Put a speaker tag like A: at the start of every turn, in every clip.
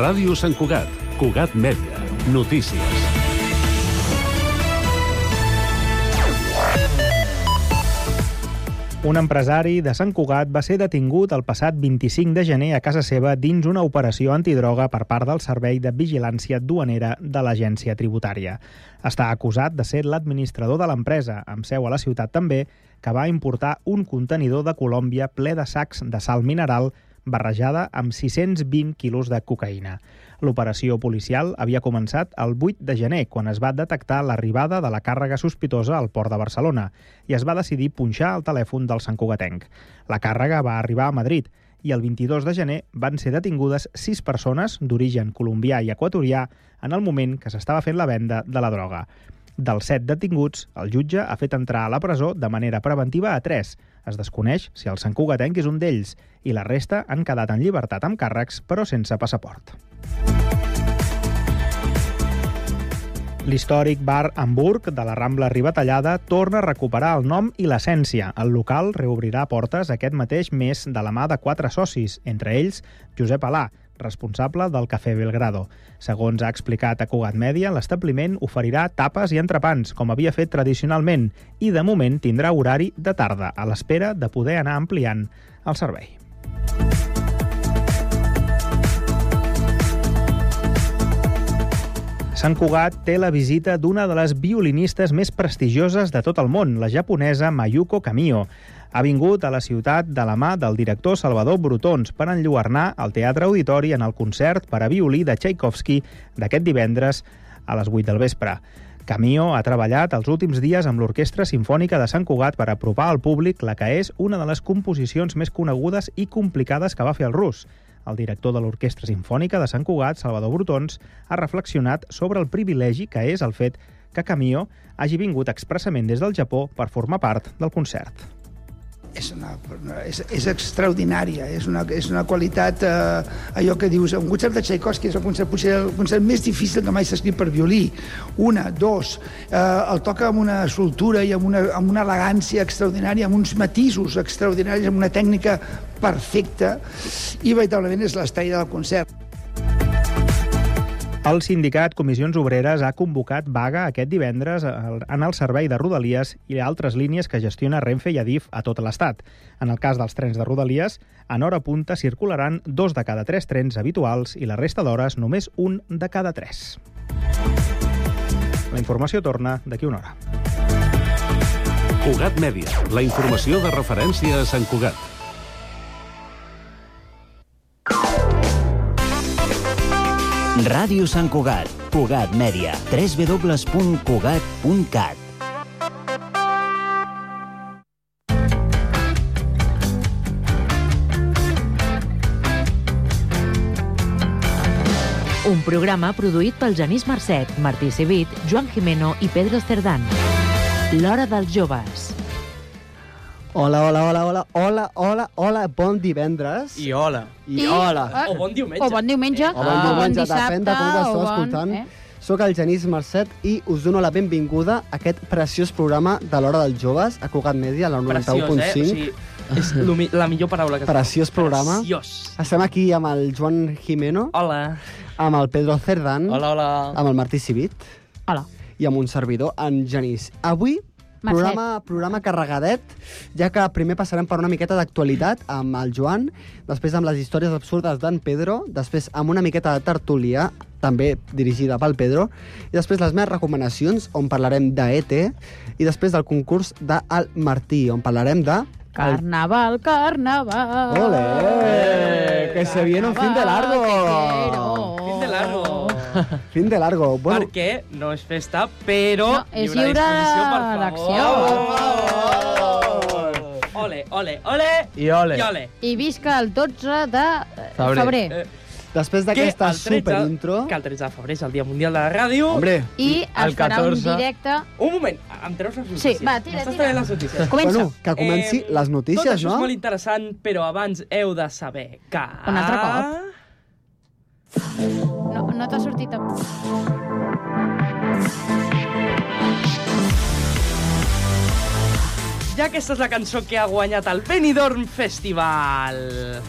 A: Ràdio Sant Cugat, Cugat Mèdia, notícies.
B: Un empresari de Sant Cugat va ser detingut el passat 25 de gener a casa seva dins una operació antidroga per part del Servei de Vigilància Duanera de l'Agència Tributària. Està acusat de ser l'administrador de l'empresa, amb seu a la ciutat també, que va importar un contenidor de Colòmbia ple de sacs de sal mineral barrejada amb 620 quilos de cocaïna. L'operació policial havia començat el 8 de gener, quan es va detectar l'arribada de la càrrega sospitosa al port de Barcelona i es va decidir punxar el telèfon del Sant Cugatenc. La càrrega va arribar a Madrid i el 22 de gener van ser detingudes sis persones d'origen colombià i equatorià en el moment que s'estava fent la venda de la droga. Dels set detinguts, el jutge ha fet entrar a la presó de manera preventiva a tres. Es desconeix si el Sant Cugatenc és un d'ells i la resta han quedat en llibertat amb càrrecs, però sense passaport. L'històric bar Hamburg de la Rambla Ribatallada torna a recuperar el nom i l'essència. El local reobrirà portes aquest mateix mes de la mà de quatre socis, entre ells Josep Alà, responsable del Cafè Belgrado. Segons ha explicat a Cugat Mèdia, l'establiment oferirà tapes i entrepans, com havia fet tradicionalment, i de moment tindrà horari de tarda, a l'espera de poder anar ampliant el servei. Sant Cugat té la visita d'una de les violinistes més prestigioses de tot el món, la japonesa Mayuko Kamio ha vingut a la ciutat de la mà del director Salvador Brutons per enlluernar el Teatre Auditori en el concert per a violí de Tchaikovsky d'aquest divendres a les 8 del vespre. Camio ha treballat els últims dies amb l'Orquestra Simfònica de Sant Cugat per apropar al públic la que és una de les composicions més conegudes i complicades que va fer el rus. El director de l'Orquestra Simfònica de Sant Cugat, Salvador Brutons, ha reflexionat sobre el privilegi que és el fet que Camio hagi vingut expressament des del Japó per formar part del concert
C: és, una, és, és extraordinària, és una, és una qualitat, eh, allò que dius, un concert de Tchaikovsky és el concert, potser el concert més difícil que mai s'ha escrit per violí, una, dos, eh, el toca amb una soltura i amb una, amb una elegància extraordinària, amb uns matisos extraordinaris, amb una tècnica perfecta, i veritablement és l'estrella del concert.
B: El sindicat Comissions Obreres ha convocat vaga aquest divendres en el servei de Rodalies i altres línies que gestiona Renfe i Adif a tot l'estat. En el cas dels trens de Rodalies, en hora punta circularan dos de cada tres trens habituals i la resta d'hores només un de cada tres. La informació torna d'aquí una hora.
A: Cugat Mèdia, la informació de referència a Sant Cugat.
D: Ràdio Sant Cugat, Cugat Mèdia, www.cugat.cat.
E: Un programa produït pel Genís Marcet, Martí Civit, Joan Jimeno i Pedro Cerdán. L'hora dels joves.
F: Hola, hola, hola, hola, hola, hola, hola, bon divendres.
G: I hola.
F: I hola.
G: O bon diumenge.
H: O bon diumenge,
F: O bon diumenge, depèn de com ho esteu
H: o
F: escoltant.
H: Eh?
F: Soc el Genís Mercet i us dono la benvinguda a aquest preciós programa de l'Hora dels Joves a Cugat Mèdia, a la 91.5.
G: Preciós, eh? O sigui, és lo mi- la millor paraula que...
F: Preciós programa.
G: Preciós.
F: Estem aquí amb el Joan Jimeno,
G: Hola.
F: amb el Pedro Cerdán,
G: Hola, hola.
F: amb el Martí Civit
H: Hola.
F: i amb un servidor, en Genís. Avui,
H: Mercè.
F: programa, programa carregadet, ja que primer passarem per una miqueta d'actualitat amb el Joan, després amb les històries absurdes d'en Pedro, després amb una miqueta de tertúlia, també dirigida pel Pedro, i després les meves recomanacions, on parlarem d'ET, i després del concurs del Martí, on parlarem de...
H: Carnaval, carnaval.
F: Ole! Que se viene un fin de largo.
H: Carnaval, que quiero.
G: Fin de
H: Oh.
G: largo.
F: Fin de largo. Bueno,
G: Perquè no és festa, però...
H: No,
G: hi
H: és
G: haurà
H: lliure
G: disposició, per favor.
H: d'acció.
F: Oh.
G: Per favor. Ole, ole, ole.
I: I ole.
G: I ole.
H: I visca el 12 de eh,
I: Febrer.
H: febrer.
G: Eh,
F: després
G: Que
F: d'aquesta
G: el 13
F: superintro...
G: Que el 13 de febrer és el Dia Mundial de la Ràdio.
F: Hombre,
H: I
I: el
H: es farà un
I: 14.
H: directe...
G: Un moment, em treus les notícies.
H: va, tira,
G: M'estàs
H: tira.
G: traient les notícies.
H: Comença.
F: Bueno, que comenci les notícies,
G: tot això
F: no?
G: és molt interessant, però abans heu de saber que...
H: Un altre cop. No, no t'ha sortit... amb-
G: ja aquesta és la cançó que ha guanyat el Benidorm Festival.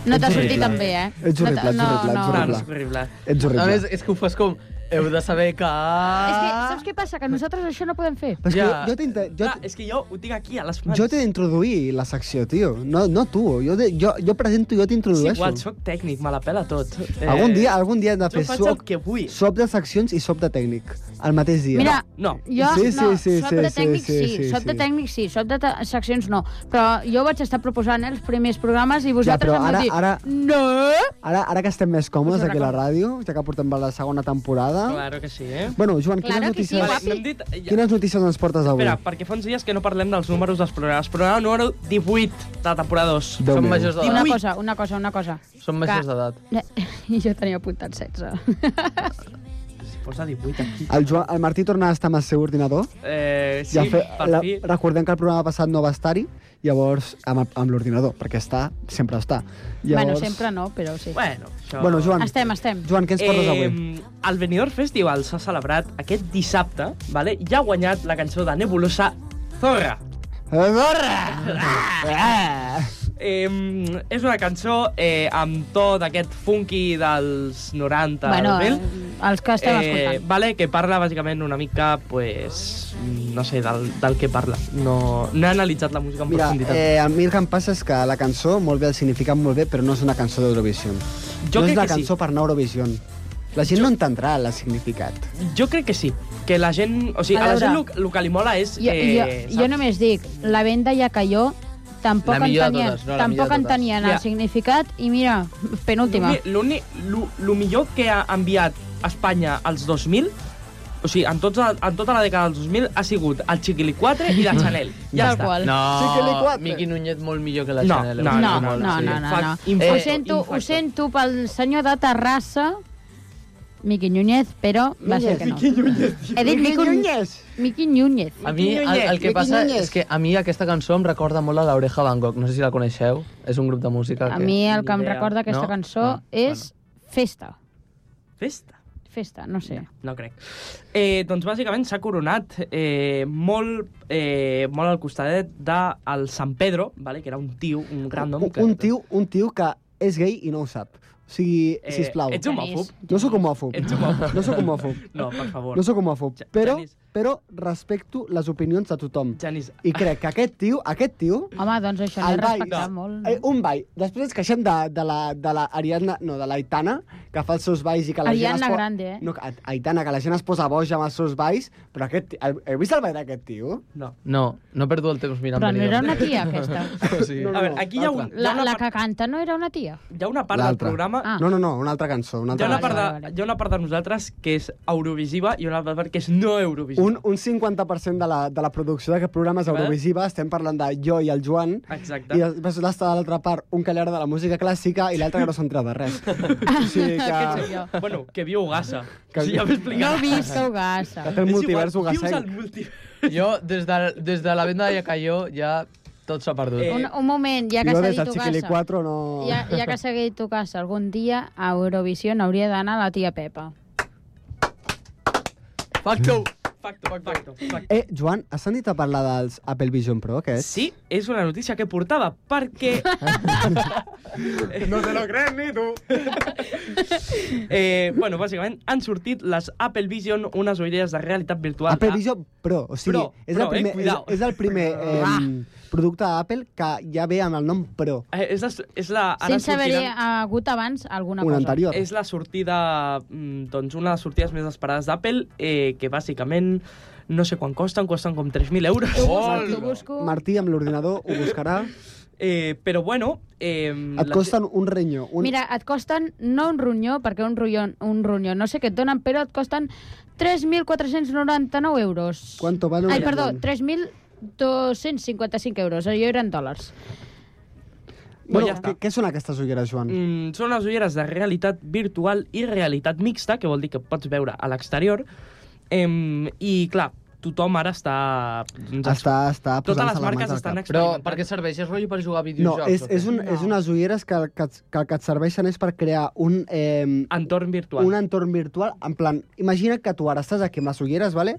H: No t'ha
I: Ets
H: sortit
I: horrible.
H: tan bé, eh?
F: Ets
H: No
F: horrible,
H: t'ha-
F: ets
H: no,
F: horrible, ets
H: no.
G: No,
F: horrible.
G: no és horrible.
F: Ets
I: No,
F: horrible.
I: és, és que ho fas com... Heu de saber que...
H: És que, saps què passa? Que nosaltres això no podem fer.
F: Però és que
G: Ja. Ah.
F: jo, jo t'inte- jo,
G: Clar, és que jo ho tinc aquí a les mans.
F: jo t'he d'introduir la secció, tio. No, no tu. Jo, de- jo, jo presento, jo
G: És
F: t'introdueixo.
G: igual, sóc tècnic, me la pela tot. Eh,
F: Algun dia, algun dia hem de
G: Jo
F: fer
G: faig el
F: swap,
G: que vull.
F: swap de seccions i swap de tècnic. El mateix dia.
H: Mira,
G: No.
H: Jo,
F: Sí, sí,
H: no,
F: sí,
H: sóc
F: sí,
H: de
F: sí,
H: tècnic
F: sí,
H: sí,
F: sí,
H: sóc de
F: sí.
H: tècnic sí, sóc de te- seccions no. Però jo vaig estar proposant els primers programes i vosaltres em
F: però
H: vau
F: ara-
H: dir...
F: ara-
H: No!
F: Ara, ara que estem més còmodes
G: Us
F: aquí a la ràdio, ja que portem per la segona temporada...
G: Claro que sí, eh?
F: Bueno, Joan, quines
H: Claro que sí,
F: notícies...
H: guapi.
G: n'hem dit... Ja.
F: quines notícies ens portes avui?
G: Espera, perquè fa uns dies que no parlem dels números dels programes. Programa número 18 de la temporada 2.
F: Déu
I: Són
F: meu.
I: majors
H: Una
I: d'edat.
H: cosa, una cosa, una cosa.
I: Són majors d'edat.
H: I jo tenia apuntat 16.
G: Posa 18 aquí.
F: El, Joan, el Martí torna a estar amb el seu ordinador.
G: Eh, sí,
F: Ja fe-
G: per
F: la,
G: fi.
F: recordem que el programa passat no va estar-hi, llavors amb, el- amb l'ordinador, perquè està, sempre està. Llavors,
H: Bueno, sempre no, però sí.
G: Bueno, això...
F: Bueno, Joan,
H: Estem, estem.
F: Joan, què ens portes avui?
G: Eh, el Benidorm Festival s'ha celebrat aquest dissabte, vale? i ha guanyat la cançó de Nebulosa, Zorra.
F: Adorra!
G: Eh, és una cançó eh, amb to d'aquest funky dels 90.
H: Bueno,
G: 2000.
H: els que
I: Eh,
H: estem escoltant.
G: vale, que parla bàsicament una mica, pues, no sé, del, del que parla. No, no he analitzat la música en
F: Mira,
G: profunditat.
F: eh, a mi el que em passa és que la cançó, molt bé, el significat molt bé, però no és una cançó d'Eurovisió.
G: Jo
F: No és
G: crec
F: una
G: que sí.
F: cançó per anar a Eurovisió. La gent no entendrà el significat.
G: Jo crec que sí, que la gent... O sigui,
H: A
G: a, la
H: veure.
G: gent el, el que li mola és...
H: Jo,
G: eh,
H: jo, jo
G: saps?
H: només dic, la venda ja cayó, tampoc
I: La millor de
H: entenien,
I: totes, no, la millor
H: tampoc
I: de totes.
H: entenien
G: Ja.
H: el significat i mira, penúltima.
G: L'únic- L'únic... lo- Lo millor que ha enviat Espanya als 2000, o sigui, en, tots, en tota la dècada dels 2000, ha sigut el Chiquili 4 i la Chanel. Ja
H: Tal
G: està.
H: qual.
I: No,
F: Sí que li quatre.
I: Miqui Núñez molt millor que la
G: No, no,
I: Chanel. em
H: No, no,
I: sembla molt,
H: no,
I: sí.
H: no, no. no.
G: Fact- infacto,
H: ho, sento, ho
G: infacto.
H: sento pel senyor de Terrassa, Miqui Núñez, però va ser que no. He dit Miqui Núñez. Miqui Núñez.
I: A mi, el, el que passa és que a mi aquesta cançó em recorda molt a l'Oreja Van Gogh. No sé si la coneixeu. És un grup de música
H: A
I: que...
H: mi el
G: ni
H: que em
G: idea.
H: recorda aquesta
I: No?
H: cançó
I: No,
H: és festa.
G: Festa.
H: Festa, no sé.
G: No crec. Eh, doncs bàsicament s'ha coronat eh, molt, eh, molt al costadet del San Pedro, vale? que era un tio, un random.
F: Un,
G: que...
F: un, tio, un tio que és gay i no ho sap. O sigui,
G: Eh,
F: sisplau.
G: Ets homòfob?
F: No sóc homòfob.
G: Ets homòfob?
F: No sóc homòfob.
G: No, per favor.
F: No sóc homòfob.
G: Ja-
F: Però,
G: Janis.
F: però respecto les opinions de tothom.
G: Janis,
F: I crec que aquest tio, aquest tio,
H: Home, doncs això l'he
F: El ball.
H: respectat
F: No.
H: molt.
F: Eh, un ball. Després ens queixem de, de, la, de la Ariadna, no, de l'Aitana, que fa els seus balls i que la
H: Ariadna
F: gent es
H: Grande, eh?
F: No, que- Aitana, que la gent es posa boja amb els seus balls, però aquest... ti- El, heu vist el ball d'aquest tio?
G: no.
I: No, no perdo el temps mirant
H: Però no era
I: Benidorm.
H: una tia, aquesta.
I: Sí.
F: No,
G: A veure, aquí hi ha, un, hi
H: La,
G: ha, una,
H: la que
G: part,
H: canta no era una tia.
G: hi ha una part del
F: L'altra.
G: programa...
H: Ah.
F: No, no, no, una altra cançó. Una
G: Hi
F: altra
G: ha una,
H: Vale,
G: part
F: cançó.
G: de,
H: vale, vale.
G: hi ha una part de nosaltres que és eurovisiva i una altra part que és no eurovisiva.
F: Un, un 50% de la, de la producció d'aquest programa és
G: Vale.
F: Eurovisiva. Estem parlant de jo i el Joan.
G: Ah, Exacte.
F: I després l'està de l'altra part, un que li agrada la música clàssica i l'altre que no s'entra de res. o sigui
H: Aquest sóc
F: que...
H: jo.
G: Bueno, que viu Gassa.
F: Que-
G: Sí, ja m'he
H: No
G: explicat.
H: he vist que ho gassa.
F: Que té el
G: És
F: multivers
G: igual, Vius
F: ugassenc.
G: al multivers.
I: Jo, des de, des de la venda de Yacayó, ja tot s'ha perdut.
G: Eh,
H: Un, un moment, ja que
F: Jo
H: s'ha
F: des
H: dit
F: del
H: tu
F: Chiquili
H: gassa.
F: 4 no...
H: Ja, ja que s'ha dit tu gassa, algun dia a Eurovisió n'hauria d'anar la tia Pepa.
I: Facto!
G: Facto, facto, facto.
F: Eh, Joan, has sentit a parlar dels Apple Vision Pro, aquests?
G: Sí, és una notícia que portava, perquè... no te lo crees ni tu. eh, bueno, bàsicament, han sortit les Apple Vision, unes ulleres de realitat virtual.
F: Apple
G: Ah,
F: Vision Pro, o sigui,
G: Pro,
F: és,
G: Pro,
F: el
G: eh,
F: primer,
G: cuidao.
F: és, és el primer eh, producte d'Apple que ja ve amb el nom Pro,
G: Eh, és, la, és, la, ara
H: Sense haver
G: sortiran-
H: hagut abans alguna
F: un
H: cosa.
F: anterior.
G: És la sortida, mm, doncs una de les sortides més esperades d'Apple, eh, que bàsicament no sé quan costen, costen com 3.000 euros.
H: Ho busco.
F: Martí, amb l'ordinador, ho buscarà.
G: Eh, però bueno... Eh,
F: Et
G: la-
F: costen un ronyó. Un...
H: Mira, et costen no un ronyó, perquè un ronyó, un ronyó no sé què et donen, però et costen 3.499 euros.
F: Quanto vale un
H: Ai, perdó,
F: ronyón?
H: 3.255 euros. Jo eren dòlars.
G: Bueno,
F: Bueno,
G: ja
F: què,
G: està.
F: què són aquestes ulleres, Joan?
G: Mm, són unes ulleres de realitat virtual i realitat mixta, que vol dir que pots veure a l'exterior. Em, I, clar, tothom ara està... doncs,
F: Està, està
G: totes
F: posant-se
G: les
F: mans
G: marques
F: al
G: estan
F: cap.
I: Però
G: experimentant.
I: per què serveix? És rotllo per jugar a
F: No,
I: videojocs?
F: és,
I: o què?
F: és, un, és unes ulleres que, el que, et- que el que et serveixen és per crear un, eh,
G: Entorn virtual.
F: un entorn virtual, en plan, imagina que tu ara estàs aquí amb les ulleres, vale?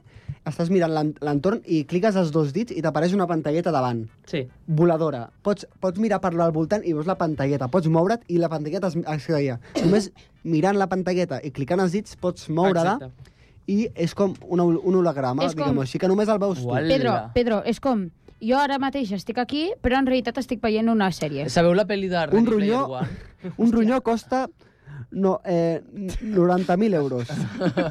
F: estàs mirant l'en- l'entorn i cliques els dos dits i t'apareix una pantalleta davant,
G: Sí.
F: voladora. Pots, pots mirar per al voltant i veus la pantalleta, pots moure't i la pantalleta es, es creia. Només mirant la pantalleta i clicant els dits pots moure-la
G: Exacte.
F: i és com una, hol- un holograma,
H: És com-
F: diguem-ho així, que només el veus tu.
I: Uala.
H: Pedro, Pedro, és com... Jo ara mateix estic aquí, però en realitat estic veient una sèrie.
I: Sabeu la pel·li de Ready
F: Un
I: Player
F: ronyó,
I: One?
F: un ronyó costa no, eh, 90.000 euros.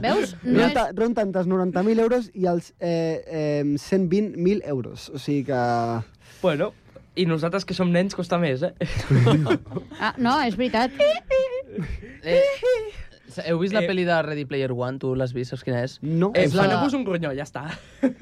H: Veus? No és...
F: Ronda, ronda entre els 90.000 euros i els eh, eh, 120.000 euros. O sigui que...
G: Bueno, i nosaltres que som nens costa més, eh?
H: Ah, no, és veritat.
I: Eh, heu vist la
G: Eh.
I: pel·li de Ready Player One? Tu l'has vist? Saps quina és?
F: No.
G: eh
I: És la-
G: Faneu-vos un ronyó, ja està.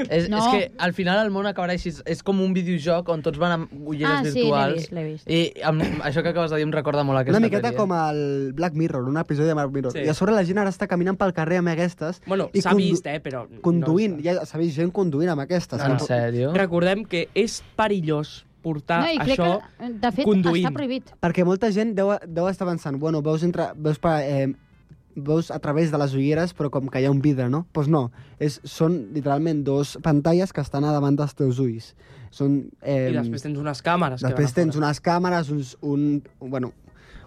I: És,
H: No.
I: és que al final el món acabarà així. És com un videojoc on tots van amb ulleres
H: Ah, sí, l'he
I: virtuals.
H: vist, l'he vist.
I: I amb, això que acabes de dir em recorda molt aquesta
F: Una miqueta
I: pel·li, eh?
F: com el Black Mirror, un episodi de Black Mirror.
G: Sí.
F: Sí. I a sobre la gent ara està caminant pel carrer amb aquestes
G: Bueno,
F: i
G: s'ha
F: condu-
G: vist, eh, però... no
F: conduint.
G: està.
F: No, ja s'ha vist gent conduint amb aquestes.
I: En
F: Com-
I: sèrio?
G: Recordem que és perillós portar
H: No, i crec
G: això...
H: que, eh, de fet,
G: conduint.
H: està prohibit.
F: Perquè molta gent deu, deu estar pensant, bueno, veus, entre, veus, per, eh, veus a través de les ulleres, però com que hi ha un vidre, no? Doncs pues no, és, són literalment dos pantalles que estan a davant dels teus ulls. Són, eh,
G: I després tens unes càmeres.
F: després
G: que van a
F: tens
G: fora.
F: unes càmeres, uns, un, bueno,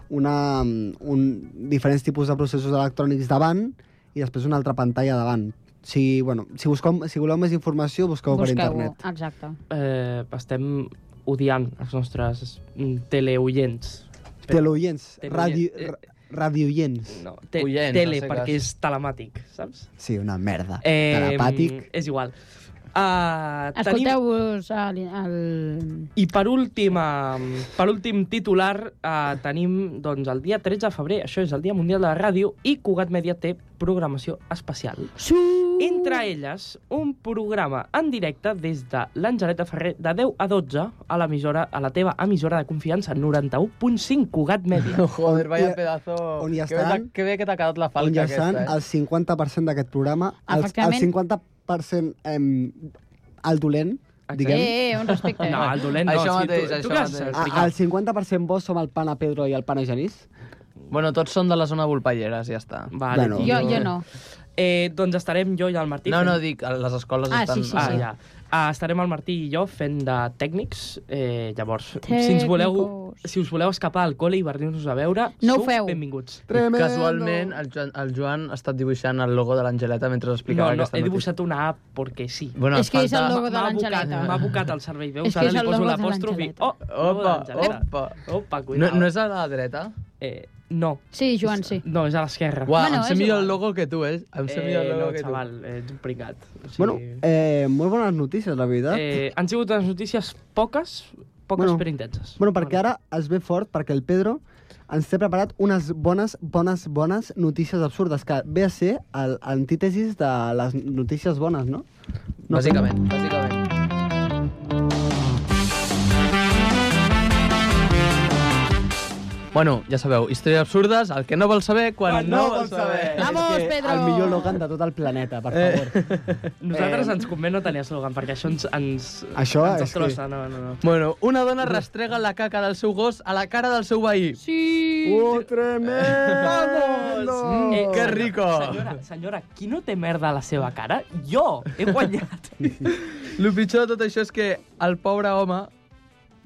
F: una, un, diferents tipus de processos electrònics davant i després una altra pantalla davant. Si, bueno, si, busqueu, si voleu més informació, busqueu, per internet.
H: Exacte.
G: Eh, estem odiant els nostres mm, teleoients.
F: Teleoients,
G: Teleoient-
F: radi,
G: eh,
F: ra- radioients.
G: No, te
I: Oients,
G: tele,
I: no sé
G: perquè
I: què
G: és telemàtic, saps?
F: Sí, una merda.
G: Eh,
F: Telepàtic.
G: És igual. Uh,
H: Escolteu-vos el... el...
G: I per últim, eh, per últim titular eh, tenim doncs, el dia 13 de febrer, això és el Dia Mundial de la Ràdio, i Cugat Media té programació especial.
H: Su...
G: Entre elles, un programa en directe des de l'Angelet de Ferrer de 10 a 12 a l'emissora a la teva emissora de confiança 91.5 Cugat Media.
I: Joder,
F: On-
I: vaya
F: i-
I: pedazo.
F: on hi
I: que bé
F: estaran-
I: t'ha- Que bé que t'ha quedat la falca
F: on ja
I: aquesta,
F: estan
I: eh?
F: el 50% d'aquest programa, el, el
H: Efectivament.
F: 50% em, el dolent,
H: Eh,
F: diguem,
H: eh, un respecte.
G: No, el dolent no.
I: Això
G: o sigui,
I: mateix,
G: tu,
I: això
G: tu què has
I: mateix.
F: a-
G: explicat?
F: el 50% vos som el pana Pedro i el pana Genís.
I: Bueno, tots són de la zona Volpelleres, ja està.
G: Vale,
F: Bueno.
G: tio.
H: Jo, jo no.
G: Eh, doncs estarem jo i el Martí.
I: No,
G: fent-
I: no, dic, a les escoles
H: Ah,
I: estan...
H: sí, sí,
G: Ah,
H: sí.
G: ja. Ah, estarem el Martí i jo fent de tècnics. Eh, llavors, si, ens voleu,
H: Tècnicos.
G: si us voleu escapar al col·le i venir-nos a veure,
H: No ho
G: sou
H: feu.
G: benvinguts.
I: I Casualment, el Joan, el Joan ha estat dibuixant el logo de l'Angeleta mentre
G: No,
I: explicava
G: no,
I: aquesta
G: he
I: notícia.
G: dibuixat una app perquè sí.
I: Bueno,
H: És
I: et
H: que és el
I: falta-
H: logo de
G: M'ha abocat,
H: l'Angeleta.
G: m'ha abocat el cervell,
H: És
G: veus?
H: que
G: Ara
H: és
G: li
H: el
G: poso
H: logo de
G: l'apòstrofi.
H: l'Angeleta.
G: Oh, logo de
I: Opa,
G: l'Angeleta.
I: opa.
G: Opa,
I: No,
G: cuidado.
I: no és a la dreta?
G: Eh, no,
H: Sí, Joan, sí.
G: no, és a l'esquerra.
I: Uau,
H: Bueno,
I: em sé
H: és
I: millor
H: igual.
I: el logo que tu, eh? Em sé millor el
G: Eh,
I: logo
G: no,
I: que tu.
G: xaval, ets un pringat. O sigui,
F: Bueno, eh, molt bones notícies, la veritat. Eh,
G: eh, han sigut unes notícies poques, poques
F: Bueno.
G: però intenses.
F: bueno, perquè ara es ve fort, perquè el Pedro ens té preparat unes bones, bones, bones notícies absurdes, que ve a ser el- l'antítesis de les notícies bones, no? no
I: Bàsicament, bàsicament. Bueno, ja sabeu, històries absurdes, el que no vol saber quan,
G: Quan no vol saber.
H: Vamos,
F: És que
H: Pedro!
F: El millor Logan de tot el planeta, per favor. Oh. Eh.
G: Nosaltres
F: Eh,
G: ens convé no tenir eslògan, perquè això ens, ens,
F: Això és
G: ens
F: que-
G: destrossa. No, no, no.
I: Bueno, una dona rastrega la caca del seu gos a la cara del seu veí.
H: Sí.
F: ¡Oh, tremendo!
I: Mm, que rico!
G: Senyora, senyora, qui no té merda a la seva cara? Jo! He guanyat!
I: El pitjor de tot això és que el pobre home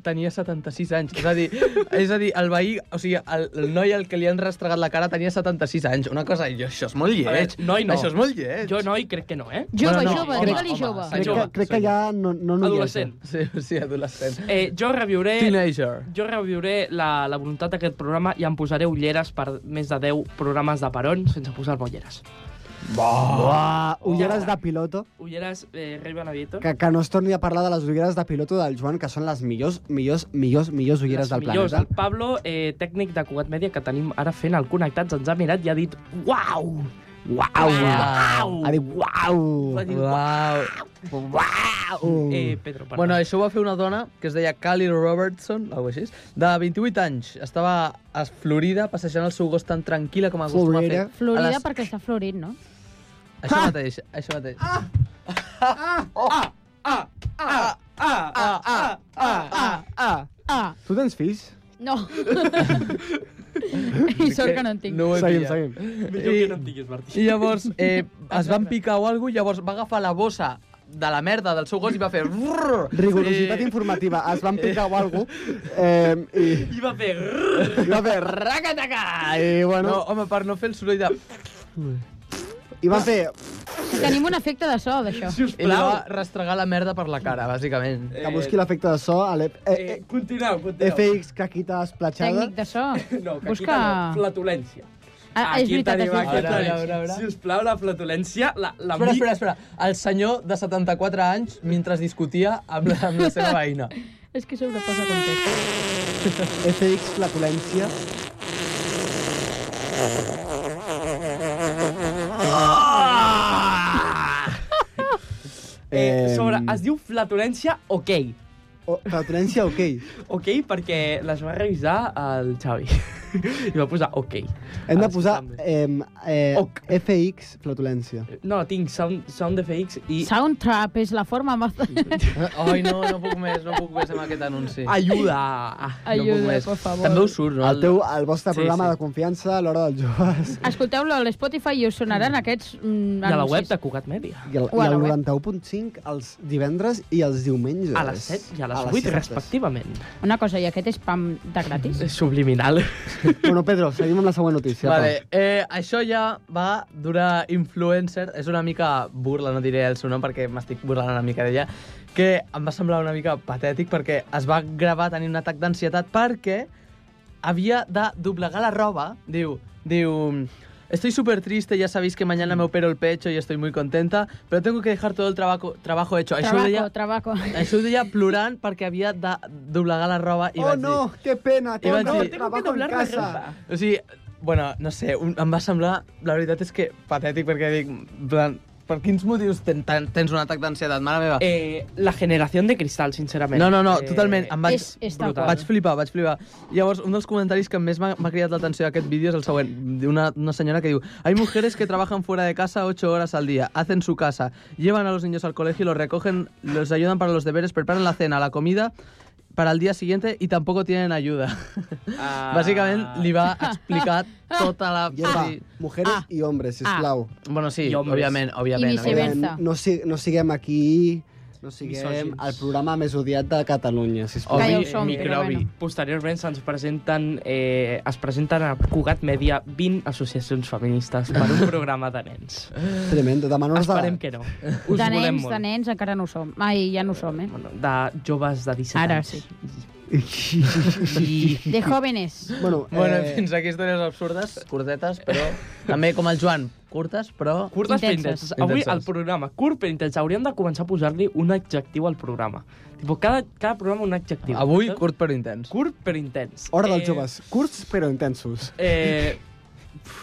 I: tenia 76 anys. És a dir, és a dir el veí, o sigui, el, el noi al que li han rastregat la cara tenia 76 anys. Una cosa, jo, això és molt lleig.
G: veure, noi no.
I: Això és molt lleig.
G: jo no i crec que no, eh?
H: Jove,
I: Bueno, no,
H: jove,
I: home,
H: digue-li
I: home,
H: jove.
I: sí.
F: Crec que,
I: Jove,
F: crec
I: soy
F: que ja no, no, no
G: Adolescent.
I: Sí, sí, adolescent.
G: Eh, jo reviuré...
I: Teenager.
G: Jo reviuré la, la voluntat d'aquest programa i em posaré ulleres per més de 10 programes de Perón sense posar-me ulleres.
F: Buah,
I: Oh.
F: ulleres de piloto,
G: Ulleres eh, Rey Benedito.
F: que, que no es torni a parlar de les ulleres de piloto del Joan, que són les millors, millors, millors, millors ulleres del
G: millors,
F: planeta.
G: el Pablo, eh, tècnic de Cugat Mèdia, que tenim ara fent el Connectats, ens ha mirat i ha dit uau! Uau! Uau!
F: Ha dit, uau!
G: Va dir,
I: Uau.
F: Uh.
G: Eh, Pedro, perdó.
I: Bueno, això ho va fer una dona que es deia Callie Robertson, o així, de 28 anys. Estava a Florida passejant el seu gos tan tranquil·la com acostuma a fer.
F: Florida.
I: A
H: Florida
I: les-
H: perquè està florit, no?
I: Això mateix, això mateix.
H: Ah,
F: Tu tens fills?
H: no. I sort que no en tinc.
I: No ho he
F: Seguim,
I: pillat.
F: seguim.
G: Millor que no em diguis, Martí.
I: I llavors eh, es van picar o alguna llavors va agafar la bossa de la merda del seu gos i va fer... Eh, brrr.
F: Rigorositat
I: I-
F: informativa. Es van picar o alguna cosa. Eh,
G: I va fer... grrr.
F: I, I va fer racataca! I, bueno,
I: No, home, per no fer el soroll de...
F: i van fer...
H: Tenim un efecte de so, d'això.
G: Si us
I: I li
G: plau.
I: va rastregar la merda per la cara, bàsicament.
F: Que busqui l'efecte de so a l'EP... Eh,
G: Eh, continueu,
F: eh,
G: continueu.
F: FX, caquita, esplatxada...
H: Tècnic de so.
G: No, que
H: Busca...
G: aquí no, flatulència.
H: Ah, és
G: aquí
H: veritat, és
G: tenim,
H: veritat.
G: aquí
I: Ara,
G: tenim.
I: ara, ara, ara.
G: Si us plau, la flatulència, la, la
I: Espera,
G: mi-
I: espera, espera. El senyor de 74 anys mentre es discutia amb la, amb la seva veïna.
H: És que sobreposa context.
F: FX, flatulència...
G: Eh,
F: Em,
G: eh, sobre, es diu flatulència ok.
F: o- Flatulència, ok.
G: Ok perquè les va revisar el Xavi. I va posar ok.
F: Hem de
G: Els
F: posar
G: també.
F: eh, eh,
G: Oc.
F: FX, flatulència.
G: No, tinc sound, sound FX i...
H: Soundtrap és la forma més...
I: Ai, no, no puc més, no puc més amb aquest anunci.
G: Ajuda!
H: Ajuda,
I: no puc més.
H: por favor.
I: També us surt, no?
F: El teu, el vostre
I: Sí,
F: programa
I: sí.
F: de confiança a l'hora dels joves.
H: Escolteu-lo a l'Spotify i us sonaran aquests mm,
G: De la
H: anuncis.
G: web de Cugat Mèdia.
F: I el,
H: O a
F: i el
H: la web.
F: 91.5 els divendres i els diumenges.
G: A les 7 i a les 8,
F: set.
G: respectivament.
H: Una cosa, i aquest és spam de gratis?
G: És Subliminal.
F: Bueno, Pedro, seguim amb la següent notícia.
I: Vale, eh, això ja va d'una influencer, és una mica burla, no diré el seu nom perquè m'estic burlant una mica d'ella, que em va semblar una mica patètic perquè es va gravar tenint un atac d'ansietat perquè havia de doblegar la roba, diu, diu... Estoy súper triste, ya sabéis que mañana me opero el pecho y estoy muy contenta, pero tengo que dejar todo el trabajo, trabajo hecho. Això
H: Trabaco,
I: ho deia,
H: trabaco.
I: això ho deia plorant perquè havia de doblegar la roba i
F: Oh
I: vaig dir...
F: no, qué pena, tengo
I: vaig dir-
F: no,
I: Tengo que
F: trabajo en casa.
I: O sigui, bueno, no sé, un, em va semblar, la veritat és que patètic, perquè dic, en plan, per quins motius ten, ten, tens un atac d'ansietat, mare meva? Eh,
G: Eh, la generació de cristal, sincerament.
I: no, no, no,
G: Eh,
I: totalment, em vaig...
H: És- és tal
I: brutal.
H: qual.
I: vaig flipar, vaig flipar. Llavors, un dels comentaris que més m'ha m'ha cridat l'atenció d'aquest vídeo és el següent, d'una una senyora que diu Hay mujeres que trabajan fuera de casa 8 horas al día, hacen su casa, llevan a los niños al colegio, los recogen, los ayudan para los deberes, preparan la cena, la comida para el día siguiente y tampoco tienen ayuda.
G: Ah.
I: Bàsicament, li va explicar tota la...
F: Lleva,
I: Sí.
F: mujeres
H: Ah.
F: y hombres, sisplau.
I: Bueno, sí,
G: I homes.
I: òbviament, òbviament.
H: I
I: òbviament.
H: viceversa.
F: no, si, no siguem aquí... No siguem
G: Misògins.
F: el programa més odiat de Catalunya, sisplau.
I: Obvi,
H: Que ja ho som, però
I: microbi.
H: bueno.
G: Posteriorment se'ns presenten, eh, es presenten a Cugat Mèdia 20 associacions feministes per un programa de nens.
H: Mm.
F: Tremendo, demanos de...
G: Esperem que no. Us
H: de
G: volem
H: nens,
G: molt.
H: de nens, encara no ho som. Ai, ja no ho som, eh?
G: Bueno, de joves de 17
H: Ara
G: anys.
H: sí.
G: I
H: De jóvenes.
F: Bueno,
I: Bueno,
F: eh,
I: fins aquí històries absurdes, curtetes, però... També com el Joan, curtes, però...
G: curtes
H: Intenses.
G: Intenses. però intenses. Avui
I: Intenses.
G: el programa, curt però intens, hauríem de començar a posar-li un adjectiu al programa. Tipo, cada, cada programa un adjectiu.
I: Avui,
G: Tot-
I: curt però intens.
G: curt però intens.
F: hora
I: Eh.
F: dels joves. Curts però intensos.
G: Eh,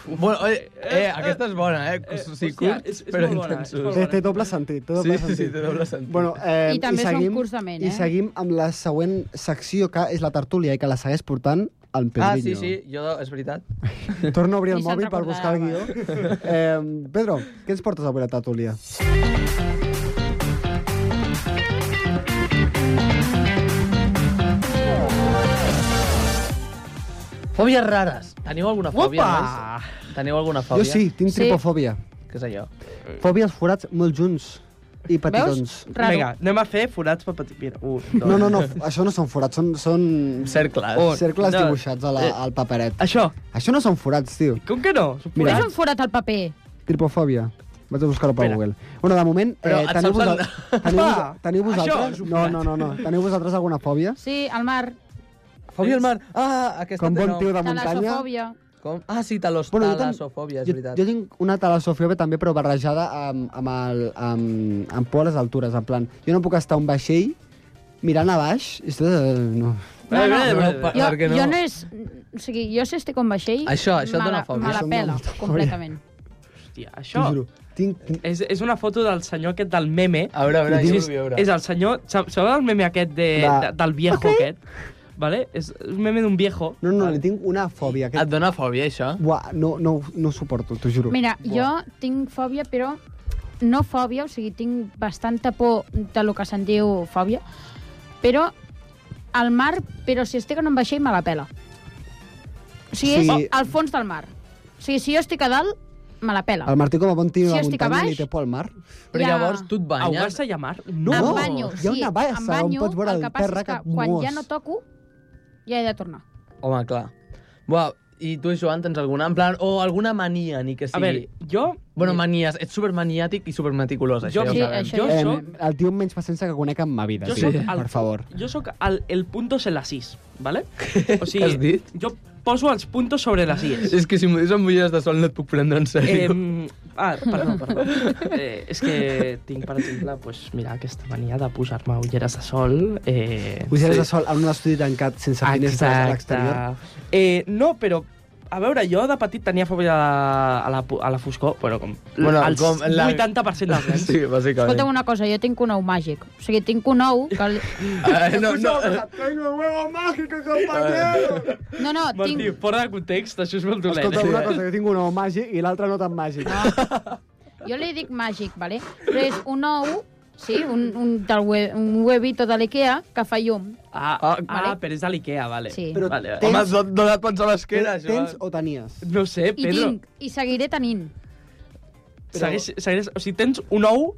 I: Bueno, eh, eh, aquesta és bona, eh? eh sí,
G: hòstia,
I: curt,
G: és- és
I: però
G: molt bona, és
I: intensos.
G: molt
F: Té, té doble sentit, té doble
I: Sí, sí,
F: sentit.
I: sí, té doble sentit.
F: Bueno, eh,
H: I també són
F: seguim,
H: curts de ment, eh?
F: I seguim amb la següent secció, que és la tertúlia, i que la segueix portant el Pedrinho.
I: ah, sí, sí, jo, és veritat.
F: Torno a obrir el
H: Ni se'n
F: mòbil per buscar el guió. Eh, Pedro, què ens portes avui a la tertúlia?
I: Fòbies rares. Teniu alguna fòbia,
G: Opa!
I: nois? Teniu alguna
F: Jo
I: fòbia?
F: sí, tinc
H: Sí.
F: tripofòbia.
I: Què és allò?
F: Fòbia als forats molt junts i petitons.
H: Veus? Raro.
G: Vinga, anem a fer forats per petit. Mira, un, dos.
F: No, no, no, això no són forats, són, són
I: Cercles.
G: Un,
F: cercles
G: dos,
F: dibuixats a la,
G: eh.
F: al paperet.
G: Això,
F: Això no són forats, tio.
G: com que no?
H: Però
F: Mira.
H: és un forat al paper.
F: Tripofòbia. Vaig a buscar-ho per
G: Espera.
F: Google. Bueno, de moment,
I: Però
F: eh,
I: et
F: teniu,
I: saps el-
F: vosaltres, teniu,
G: Va,
F: teniu
G: això és
F: vosaltres...
G: un
F: No,
G: forat.
F: no, no, no. Teniu vosaltres alguna fòbia?
H: Sí, al mar,
I: Fòbia al mar. Ah, aquesta
F: Com
I: té
F: bon
I: nom.
F: tio de muntanya?
H: talassofòbia.
I: Com? Ah, sí, talos,
F: Bueno,
I: bueno,
F: jo tam-
I: talassofòbia, és
F: Jo,
I: veritat.
F: jo tinc una talassofòbia també, però barrejada amb, amb, el, amb, amb por a les altures, en plan, jo no puc estar a un vaixell mirant a baix i estic... eh, No.
H: No,
G: eh,
H: no,
I: no, per-
H: Jo,
I: perquè no.
H: jo no és... O sigui, jo si estic amb vaixell...
I: Això, això et
H: me
I: dona
H: la-
I: fòbia.
H: Me la
F: Això em dona
H: pela,
F: fòbia.
H: completament.
G: Hòstia,
F: T'ho
G: això
F: juro. Tinc, tinc...
G: és, és una foto del senyor aquest del meme.
F: Ah,
I: A veure, a veure,
G: Sí,
I: jo
G: és,
I: vull veure.
G: és el senyor... sa- Sabeu el meme aquest de,
F: Va.
G: de, del viejo aquest? Vale? És un meme d'un viejo.
F: No, no, li tinc una fòbia.
I: Et
F: Que...
I: dona fòbia, això?
F: Buah, no, no, no ho suporto, t'ho juro.
H: Mira, jo tinc fòbia, però no fòbia, o sigui, tinc bastanta por de lo que se'n diu fòbia, però al mar, però si estic en un vaixell me la pela. O sigui, sí.
F: Sí.
H: és al fons del mar. O sigui, si jo estic a dalt, me la pela.
F: El Martí com a bon tio
H: Si
F: de
H: jo estic a
F: muntanya
H: baix-
F: li té por al mar.
I: Però
H: Ja.
I: llavors tu et banyes...
G: Ahogar-se i amar? No!
H: Em
F: No,
H: banyo,
F: hi ha
H: sí,
F: una bassa
H: em banyo,
F: on pots veure
H: el que
F: el
H: passa
F: terra
H: és que
F: que
H: quan ja
F: mos.
H: no toco, ja he de tornar.
I: Home, clar. Buah, i tu, Joan, tens alguna... En plan, o alguna mania, ni que
G: A
I: sigui...
G: veure, jo...
I: Bueno, manies, ets supermaniàtic i supermeticulós, eh, això
G: Jo-
I: ja ho
H: Sí,
I: sabem.
H: això
G: Jo
H: ja
F: Eh,
H: ho
G: sóc-
H: sabem.
F: el tio amb menys paciència que conec en ma vida,
G: Jo
F: tio,
G: sóc el-
F: per favor.
G: Jo sóc el, el punto en las is, ¿vale? O
I: Què has dit?
G: jo poso els puntos sobre les is.
I: És que si m'ho dius amb ulleres de sol no et puc prendre en
G: Eh,
I: sèrio.
G: ah, perdó, perdó. Eh, és que tinc, per exemple, pues, mira, aquesta mania de posar-me ulleres de sol. Eh,
F: Ulleres de sol en un estudi tancat sense finestres a l'exterior.
G: Eh, no, però a veure, jo de petit tenia fòbia a la, a la, pu- a la foscor, bueno, com,
I: Bueno,
G: els
I: com la-
G: 80% dels nens.
I: Sí, bàsicament.
H: Escolta'm una cosa, jo tinc un ou màgic. O sigui, tinc un ou que... li-
I: Eh, no, no,
C: Tengo huevo mágico,
G: Eh.
C: compañero!
H: No, no,
G: Martí,
H: tinc...
G: fora de context, això és molt dolent.
F: Escolta,
G: eh?
F: una cosa, jo tinc un ou màgic i l'altre no tan màgic.
G: Ah.
H: Jo li dic màgic, vale? Però és un ou, sí, un, un, del hue, un huevito de l'IKEA que fa llum.
G: Ah, ah,
I: Ah,
G: ah,
H: vale.
G: però és de l'Ikea, vale.
H: Sí.
F: Però
G: vale, vale.
I: Home,
F: Tens-
I: no, no et pots a l'esquena,
F: Tens,
I: Joan.
F: tens o tenies?
G: No sé,
H: I
G: Pedro.
H: tinc, i seguiré tenint.
G: Segueix, segueix, o sigui, tens un ou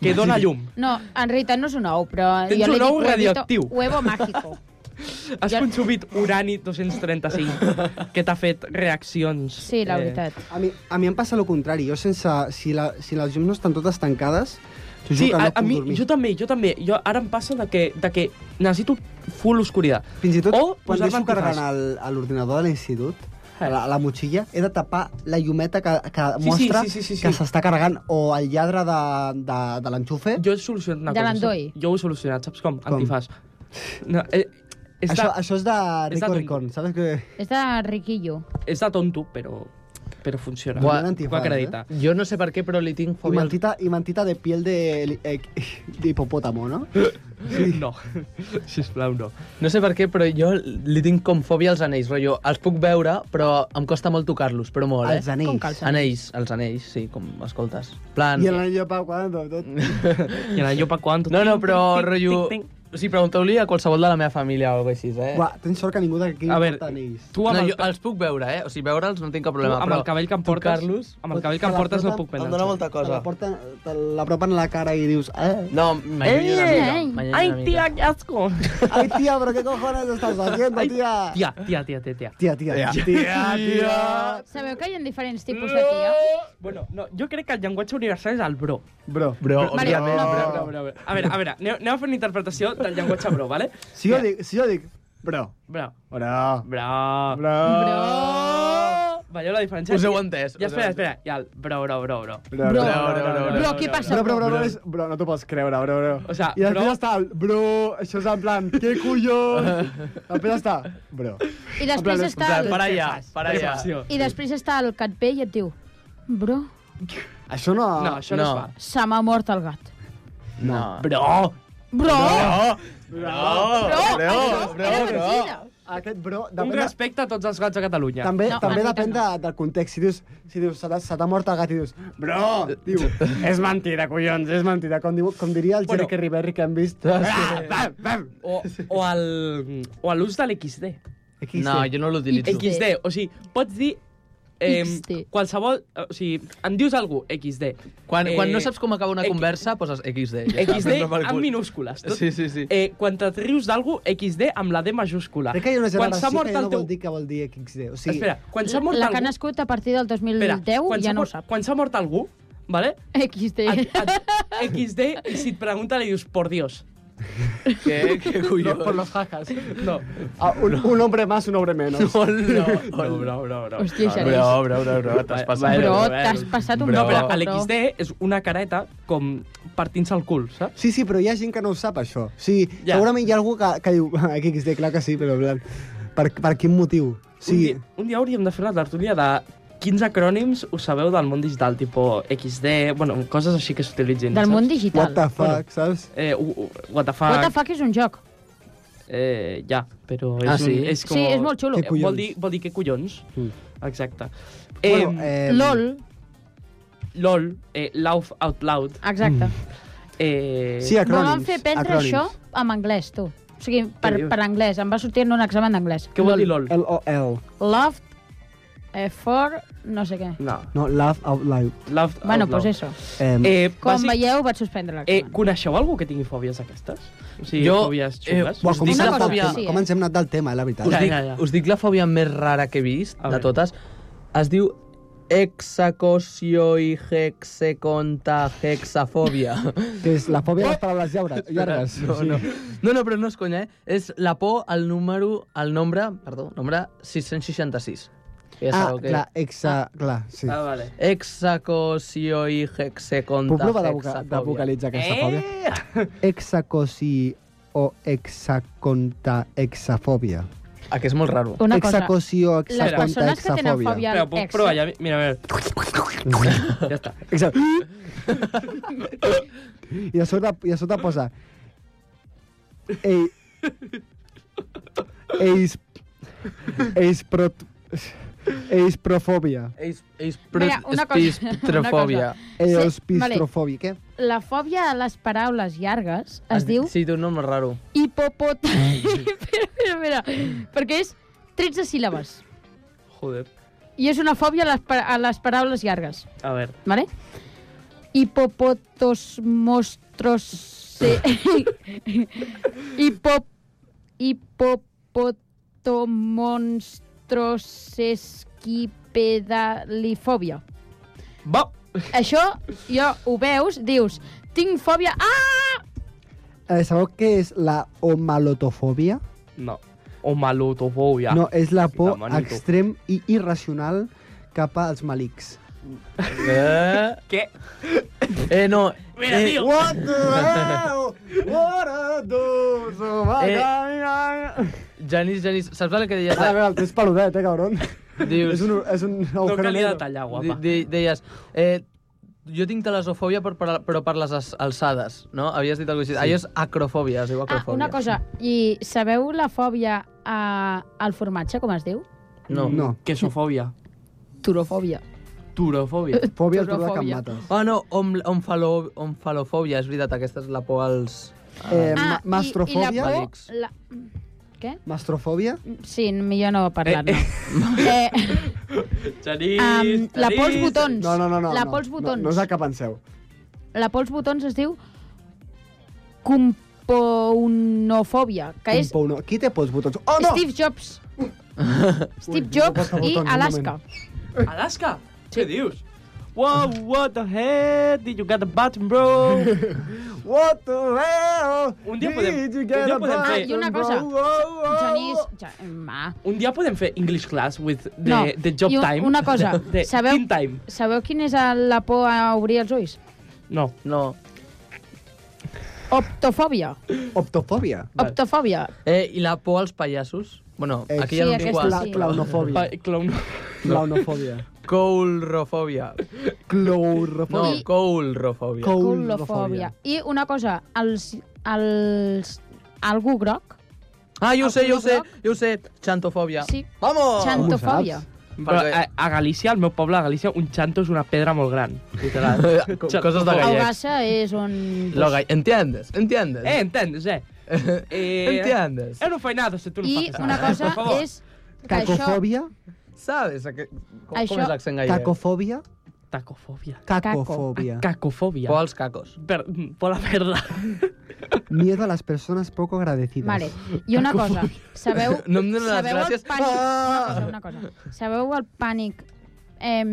G: que dona llum.
H: No, en realitat no és un ou, però...
G: Tens
H: jo li
G: un
H: dic
G: ou
H: huevito-
G: radioactiu.
H: Huevo mágico.
G: Has
H: Jo-
G: consumit urani 235 que t'ha fet reaccions.
H: Sí, la veritat.
F: A mi, a mi em passa el contrari. Jo sense... Si, la, si les llums no estan totes tancades, t'ho juro
G: Sí,
F: que no
G: a, a
F: puc
G: mi,
F: dormir.
G: jo també, jo també. Jo, ara em passa de que, de que necessito full oscuritat.
F: Fins i tot
G: o
F: quan
G: posar-me
F: deixo
G: antifaç.
F: carregant el- a l'ordinador de l'institut,
G: Eh.
F: a la, a la motxilla, he de tapar la llumeta que, que
G: Sí, sí,
F: mostra
G: sí, sí, sí, sí.
F: que s'està carregant o el lladre de, de, de l'enxufe.
G: Jo he solucionat una
H: De
G: cosa.
H: l'endoll.
G: saps? Jo ho he solucionat, saps com? Antifaç. No, eh, és,
F: Això,
G: de,
F: això és de
G: és
F: Rico
G: de ton-
F: Ricón, saps que...
H: És de riquillo.
G: és de tonto, però, però funciona.
I: Buah,
G: Ho
F: ¿eh?
G: acredita.
I: Jo no sé per què, però li tinc
F: I
I: fòbia. al-
F: mantita, I mantita de piel de, eh, de hipopòtamo, no?
G: No, sisplau, no.
I: No sé per què, però jo li tinc com fòbia als anells, rotllo. Els puc veure, però em costa molt tocar-los, però molt, eh?
F: Els anells.
H: Com calça.
I: Anells, els anells, sí, com escoltes. Plan...
F: I l'anell de Pau, quan tot...
G: I ara jo pa quan...
I: No, no, però,
G: Tinc,
I: rotllo...
G: tinc, tinc.
I: O sigui, pregunteu-li a qualsevol de la meva família o alguna cosa així, eh?
F: Uah, tens sort que ningú d'aquí
G: A veure,
F: porta anells.
G: tu amb,
I: no,
G: el,
I: jo els puc veure, eh? O sigui, veure'ls no tinc cap
G: tu
I: problema,
G: amb
I: però...
G: el cabell que em portes,
I: tocar-los-
G: amb el cabell que em portes no puc
I: Em dóna
G: prendre.
I: molta
F: Te la
I: cosa.
F: porten, te l'apropen a la cara i dius... Eh?
I: No, m'allunyo una
H: Ei!
I: mica.
H: Ei!
I: m'allunyo
G: Ai,
I: una mica.
G: tia, que asco.
F: Ai, tia, però què cojones estàs haciendo, tia?
G: Tia, tia, tia, tia, tia.
F: Tia, tia, tia, tia, tia.
H: Sabeu que hi ha diferents tipus de tia?
G: Bueno, no, jo crec que el llenguatge universal és el bro.
F: Bro,
I: Bro,
H: Vale,
I: òbviament.
H: no,
G: Bro, bro, bro, bro. A veure, a veure, aneu, aneu a fer una interpretació del llenguatge bro, vale?
F: si jo dic, si jo dic... Bro,
G: Bro,
F: bro,
G: bro, bro.
F: bro,
G: Veieu la diferència?
I: Us heu entès,
G: Ja,
I: us
G: espera,
I: heu
G: espera. Ja, el bro, bro, bro, bro.
F: bro,
H: Bro,
I: bro,
H: bro, què passa?
F: Bro, bro, bro, bro, és... Bro, no t'ho pots creure, bro, bro.
G: O sea,
F: I després
G: bro-
F: està el... Bro, això és en plan... Què collons? després està... Bro.
H: I després
F: En plan,
H: està el...
I: Para allà, para allà.
G: Passió.
H: I després està el que et ve i et diu... Bro,
F: Això Ah, no...
G: No, això no,
I: No.
G: es fa.
H: se m'ha mort el gat.
I: No.
G: Bro!
H: Bro!
G: Oh,
I: Bro,
H: Bro!
I: bro,
H: això
I: bro,
H: era
I: bro.
H: mentida.
F: Aquest bro...
G: Un
F: Depèn, de,
G: respecte a tots els gats de Catalunya.
F: també,
H: No,
F: també
H: en
F: depèn de, del context. Si dius, si dius se t'ha- se t'ha mort el gat i dius... Bro! Diu, és mentida, collons, és mentida. Com, diu, com diria el
G: Bueno. Ah.
F: Jerry Riveri que hem vist.
I: sí.
F: bam, bam.
G: O, o, el, o a l'ús de l'XD.
F: Aquí
I: No,
F: sí.
I: jo no l'utilitzo.
H: XD.
G: XD, o sigui, pots dir eh,
H: XD.
G: qualsevol... O sigui, em dius algú, XD.
I: Quan,
G: eh,
I: quan no saps com acaba una
G: X-
I: conversa, poses XD. Ja està,
G: XD
I: prendre pel
G: amb
I: cul.
G: minúscules. Tot.
I: Sí, sí, sí.
G: Eh, quan et rius d'algú, XD amb la D majúscula.
F: Crec que hi ha una
G: quan s'ha
F: generació
G: mort
F: que ja
G: el
F: no
G: teu...
F: vol dir que vol dir XD. O sigui,
G: Espera, quan s'ha mort
H: La que ha
G: algú...
H: nascut a partir del 2010
G: Espera, quan
H: ja
G: s'ha
H: no ho
G: mort-
H: sap.
G: Quan s'ha mort algú, vale?
H: XD.
G: Et, et, XD, i si et pregunta, li dius, por Dios.
I: Què, què collons?
F: Por los jacas.
G: No.
F: Ah, un, un hombre más, un hombre menos.
I: No, no, no,
G: No, no, no, Ah, no.
H: Hòstia, això
I: Bro,
H: és...
I: bro, bro, bro, t'has passat.
H: Bro,
G: Bro,
H: t'has passat un
I: bro.
G: No, però
H: poc, bro.
G: l'XD és una careta com partint-se el cul, saps?
F: Sí, sí, però hi ha gent que no ho sap, això. O sigui, ja.
G: Ja.
F: segurament hi ha algú que, que diu... "Ah, Aquí, XD, clar que sí, però en plan, per, per quin motiu? O
G: Sí. Un,
F: sigui,
G: dia, un dia hauríem de fer una tertúlia de quins acrònims ho sabeu del món digital, tipo XD, bueno, coses així que s'utilitzin.
H: Del
G: saps?
H: món
F: what
H: digital.
F: the fuck, saps?
G: Eh, u- u- what the fuck,
H: What the fuck és un joc.
G: eh, ja, però és,
I: Ah,
G: un-
I: sí?
G: és com...
H: Sí, és molt xulo.
G: Eh,
F: Què collons?
G: vol, dir, vol dir que collons,
F: Mm.
G: exacte.
F: Bueno, eh,
H: LOL.
G: LOL, eh, Laugh Out Loud...
H: Exacte.
G: Eh,
F: Sí, acrònims.
H: Volen fer prendre
F: acrònims.
H: això amb anglès, tu. O sigui, per,
G: dius?
H: per anglès. Em va sortir en un examen d'anglès.
G: Què vol dir LOL?
F: L-O-L.
H: Loved eh, for no sé què.
G: No,
F: No, Love Out Loud.
G: Laugh Out
H: Bueno, pues
G: Loud.
H: doncs això.
F: Em,
G: Eh,
H: Com
G: bàsic-
H: veieu, vaig suspendre
G: Eh,
H: l'examen.
G: coneixeu algú que tingui fòbies aquestes? O sigui,
I: Jo,
G: fòbies
I: eh,
G: xungues?
F: Buah,
I: us
F: com,
I: dic
F: ens
I: una
F: hem
I: cosa,
F: anat del
I: sí,
H: eh?
F: tema, com ens hem anat del tema, eh, la veritat.
I: Us,
G: Ja,
I: dic,
G: ja, ja.
I: us dic la fòbia més rara que he vist,
G: A
I: de
G: veure.
I: totes. Es diu hexacosio i hexeconta hexafòbia.
F: Que és la fòbia de les paraules Ah, llaures, llargues.
I: No, no. no, no, però no és conya, eh? És la por al número, al nombre, perdó, nombre 666. Ja
F: Ah,
I: sabeu que...
F: clar, exa... Clar, sí.
G: Ah, vale.
I: Hexacosio i hexeconta
F: Puc provar de, voca- de
I: hexafòbia.
F: vocalitzar aquesta fòbia?
G: Eh!
F: Hexacosi o hexaconta hexafòbia.
I: Ah, que és molt raro.
H: Una cosa,
F: Hexacosi o
H: les
F: hexaconta
H: persones que tenen
F: hexafòbia.
H: fòbia
G: Però
H: al
G: puc
H: ex,
G: provar ja? Mira, a veure. ja està.
F: Exa- I a sota, i a sota posa... Ei... Eis... Eis prot... Eis profòbia.
I: És, és
H: Mira, una cosa,
I: espistrofòbia.
F: Eospistrofòbia. Què?
H: la fòbia a les paraules llargues es diu
I: Sí, té un nom molt raro.
H: hipopot... espera, espera, espera. Perquè és 13 síl·labes.
G: Joder.
H: I és una fòbia a les, pa- a les paraules llargues.
G: A veure.
H: ¿vale? Hipopotos monstruos se... Hipo... Hipopotomonstros esquipedalifòbia.
G: Bo!
H: Això, jo ho veus, dius, tinc fòbia... Ah!
F: Eh, sabeu què és la omalotofòbia?
G: No. O malutofòbia.
F: No, és la por
G: la manito.
F: extrem i irracional cap als malics.
I: Eh?
G: Què?
I: Eh, no.
G: Mira,
I: eh,
G: tio!
F: What the hell? What a dos? Oh, my
I: Eh.
F: God.
I: Janís, Janís, saps el que deies? Ah,
F: Ah, mira, el tens peludet, eh, cabron?
I: Dius,
F: és un, és un
G: No
F: agujero
G: calia
F: negro.
G: detallar,
I: de,
G: guapa.
I: de, deies, eh, jo tinc talasofòbia per, per, però per les as- alçades, no? Havies dit alguna cosa així. Sí. Allò és acrofòbia, es diu
H: ah!
I: acrofòbia.
H: Una cosa, i sabeu la fòbia a, al formatge, com es diu?
I: No.
F: No,
G: Quesofòbia.
H: Turofòbia.
G: Turofòbia.
F: fòbia al turó de Can
H: Turofòbia.
F: Mates.
I: Ah, no, om, omfalo, omfalofòbia, és veritat, aquesta és la por als...
F: Eh,
I: Ah,
F: ma- mastrofòbia?
H: I, i la por,
I: Màlics.
H: la... Què?
F: Mastrofòbia?
H: Sí, millor no parlar-ne. eh, eh.
G: Janís,
H: Um, la por als botons.
F: No, no, no. no
H: la
F: no.
H: por als botons.
F: No, no és el que penseu.
H: La por als botons es diu compounofòbia, que és
F: Un pou no. Qui té por als botons? Oh, no!
H: Steve Jobs. Steve
F: no
H: Jobs
F: toca
H: i
F: botons, un
H: Alaska.
G: Alaska? Què dius? Wow, what the heck? Did you get the button, bro?
F: What the hell?
G: Un dia podem-
F: Did you
G: un
F: get
G: dia
F: a
G: podem fer-
H: Ah, i una cosa.
F: button, bro? Oh, oh.
H: Genís... Ja, eh, ma.
G: Un dia podem fer English class with the,
H: No,
G: the job
H: i un-
G: time.
H: una cosa,
G: The, the
H: sabeu-
G: teen time.
H: Sabeu quina és el- la por a obrir els ulls?
G: No.
I: No.
H: Optofòbia.
F: Optofòbia.
G: Vale.
H: Optofòbia.
I: Eh, I la por als pallassos? Bueno,
F: Eh,
I: aquí
H: sí,
I: ja no
H: aquesta
I: tinc quals.
F: Cla
H: sí.
F: claunofòbia.
G: Pa, clown.
F: Claunofòbia.
I: Coulrofòbia. No,
F: Clourofòbia.
H: I-
I: coulrofòbia.
H: Colofòbia. I una cosa, els... els algú groc,
I: Ah, jo
H: El
I: ho sé, jo ho sé,
H: color groc?
I: jo ho sé. Xantofòbia.
H: Sí.
I: Vamos!
H: xantofòbia.
G: Però
I: eh,
G: a, a Galícia, al meu poble, a Galícia, un xanto és una pedra molt gran. Literal.
I: Co- Coses de gallec.
H: Augassa és un...
I: Lo gall... Entiendes, entiendes.
G: eh, entendes, eh? eh
I: Entiendes.
G: Eu no fai nada se tu no
H: I
G: faces
H: una
G: nada.
H: cosa
G: Por favor.
H: és que això...
F: Cacofòbia.
I: Sabes a què... Com,
H: Això-
I: com és l'accent gallec?
F: Cacofòbia.
G: Tacofòbia.
F: Cacofòbia.
G: Cacofòbia.
I: Por als cacos.
G: Per, por la merda.
F: Miedo a las personas poco agradecidas.
H: Vale, i una cosa, sabeu...
I: No em dones les
H: sabeu
I: gràcies.
H: El pànic,
I: Ah!
H: una, cosa, una cosa, sabeu el pànic eh,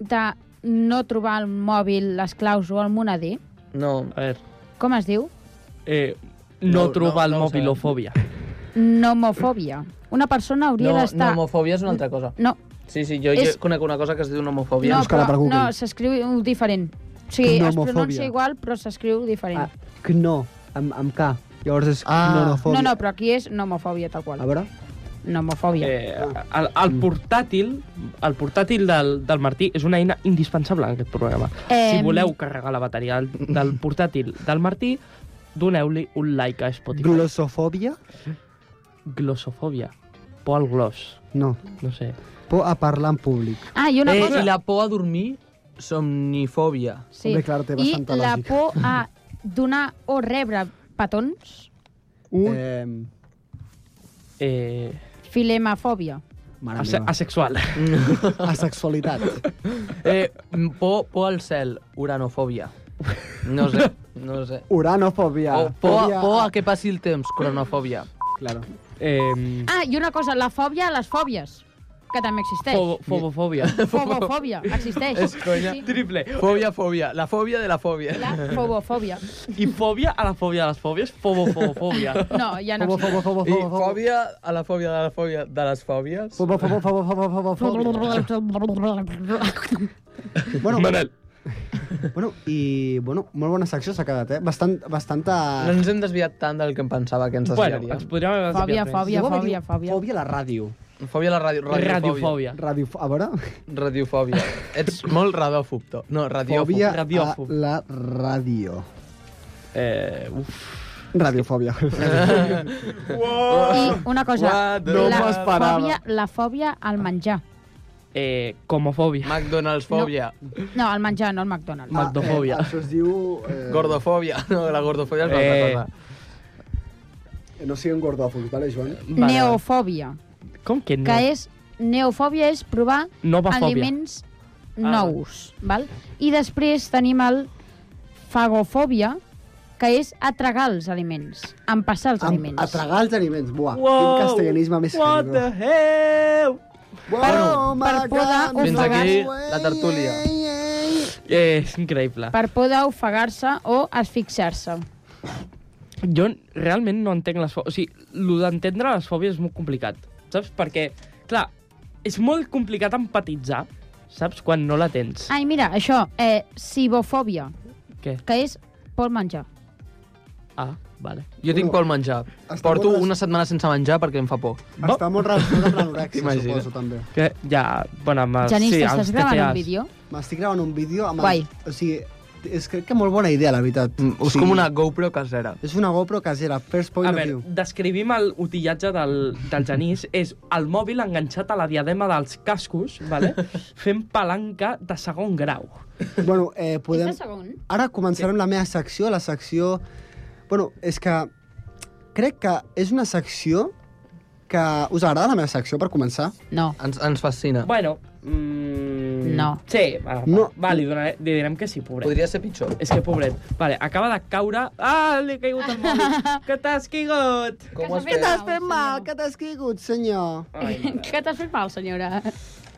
H: de no trobar el mòbil, les claus o el moneder?
I: No.
G: A ver,
H: Com es diu?
G: eh, no,
I: No,
G: troba
I: no,
G: el
I: no ho
G: mobilofòbia.
H: Nomofòbia. Una persona hauria
I: No,
H: d'estar...
I: nomofòbia és una altra cosa.
H: no,
I: Sí, sí, jo,
H: És-
I: jo conec una cosa que es diu nomofòbia.
H: no,
F: buscar-la
H: però,
F: per Google.
H: no, s'escriu diferent. O sigui, es
F: Nomofòbia.
H: pronuncia igual, però s'escriu diferent.
F: Ah, no, amb, amb K. Llavors és
I: Ah.
F: cnonofòbia.
H: no, no, però aquí és nomofòbia, tal qual.
F: A veure.
H: Nomofòbia.
G: Eh, el, el, portàtil, el portàtil del, del Martí és una eina indispensable en aquest programa.
H: Em.
G: Si voleu carregar la bateria del, del portàtil del Martí, doneu-li un like a Spotify.
F: Glosofòbia?
G: Glosofòbia. Por al glos.
F: No.
G: No sé.
F: Por a parlar en públic.
H: Ah, i una
I: Eh,
H: cosa...
I: I la por a dormir somnifòbia.
H: Sí.
F: Bé, clar, té
H: I
F: bastanta
H: la
F: lògica.
H: por a donar o rebre petons,
F: Un... Eh,
G: Eh,
H: filemafòbia.
F: mare
G: ase
F: meva.
G: asexual.
F: Asexualitat.
I: Eh, por, por al cel, uranofòbia. No sé, no sé.
F: Uranofòbia.
I: O Oh, por, a, por a que passi el temps, cronofòbia.
F: Claro.
G: Eh,
F: Mm.
H: Ah, i una cosa, la fòbia a les fòbies, que també existeix.
G: fobo, fobofòbia.
H: Fobofòbia, existeix.
I: És conya.
H: Sí, sí.
G: Triple.
I: Fòbia, fòbia. La fòbia de la fòbia.
H: La fobofòbia.
G: I fòbia a la fòbia de les fòbies, fobofobofòbia.
H: No, ja no
F: Fobo,
H: existeix.
F: fobo, fobo,
I: I
F: fobo, fobo.
I: fòbia a la fòbia de la fòbia de les fòbies.
F: Fobo, fobo, fobo, fobo, fobo, fobo. Bueno,
G: Manel.
F: bueno, i bueno, molt bona secció s'ha quedat, eh? Bastant, bastanta...
I: No ens hem desviat tant del que em pensava que ens
G: Bueno,
I: desviaria.
G: ens podríem haver
H: Fòbia,
G: desviat més.
H: fòbia,
F: Jo va dir
H: fòbia, fòbia.
F: Fòbia a la ràdio.
I: Fòbia a la ràdio, radiofòbia.
G: Radiofòbia.
F: Ràdio... A veure...
I: Radiofòbia. Ets molt radiòfob, tu. No, radiòfob.
F: Fòbia a
G: radiòfob.
F: la ràdio.
G: Eh, uf.
F: Radiofòbia.
H: I una cosa,
I: What the-
H: la,
I: No
F: m'esperava.
H: fòbia, la fòbia al menjar.
G: Eh, comofòbia.
I: McDonald's-fòbia.
H: No, al menjar, no al McDonald's.
G: Ma- Maldofòbia.
F: Eh, això es diu... Eh,
I: Gordofòbia. No, la gordofòbia és una
G: Eh.
I: altra cosa.
F: No siguin gordòfobs, vale, Joan?
G: Vale.
H: Neofòbia,
G: Com que no?
H: que és... Neofòbia és provar
G: Nova fòbia. Ah,
H: aliments nous, val? I després tenim el fagofòbia, que és atragar els aliments, empassar els
F: Am,
H: aliments.
F: a tragar els aliments. Buah, quin castellanisme més
G: What the hell?
F: Bueno,
H: per poder
I: Fins
H: ofegar
I: aquí la tertúlia.
G: Eh, és increïble.
H: Per poder ofegar-se o asfixiar-se.
G: Jo realment no entenc les fòbies. O sigui, el d'entendre les fòbies és molt complicat, saps? Perquè, clar, és molt complicat empatitzar, saps? Quan no la tens.
H: Ai, mira, això, eh, cibofòbia,
G: Què?
H: que és por menjar.
G: Ah, vale.
I: Jo tinc por al menjar.
F: Està
I: Porto
F: molt-
I: una setmana sense menjar perquè em fa por.
F: Està molt relacionat amb l'anorexia,
I: T'imagines?
F: suposo, també.
G: Que ja, bueno, amb els...
H: Genís,
G: Ah, sí,
H: t'estàs
G: els
H: gravant
G: TTAs.
H: un vídeo?
F: M'estic gravant un vídeo amb...
H: Guai.
F: El, o sigui, és crec que molt bona idea, la veritat.
I: Mm, És
F: Sí.
I: com una GoPro casera.
F: És una GoPro casera, first point
G: A
F: of
G: veure,
F: view.
G: descrivim el utillatge del, del Genís. És el mòbil enganxat a la diadema dels cascos, vale? fent palanca de segon grau.
F: Bueno, eh,
H: Podem...
F: podem...
H: És de segon?
F: Ara començarem la meva secció, la secció... Bueno, és que crec que és una secció que... Us agrada la meva secció, per començar?
H: No.
I: Ens, ens fascina.
G: Bueno, mm...
H: No.
G: Sí, va,
F: No.
G: no. va li, donaré, li direm que sí, pobret.
I: Podria ser pitjor.
G: És que, pobret, vale, acaba de caure... Ah, li he caigut el mòbil. que t'has caigut.
I: Com
H: s'ha
I: has
H: fet
I: fet?
H: el-
F: T'has fet mal, que t'has caigut, senyor.
G: Ai, mare,
H: Què t'has fet mal, senyora?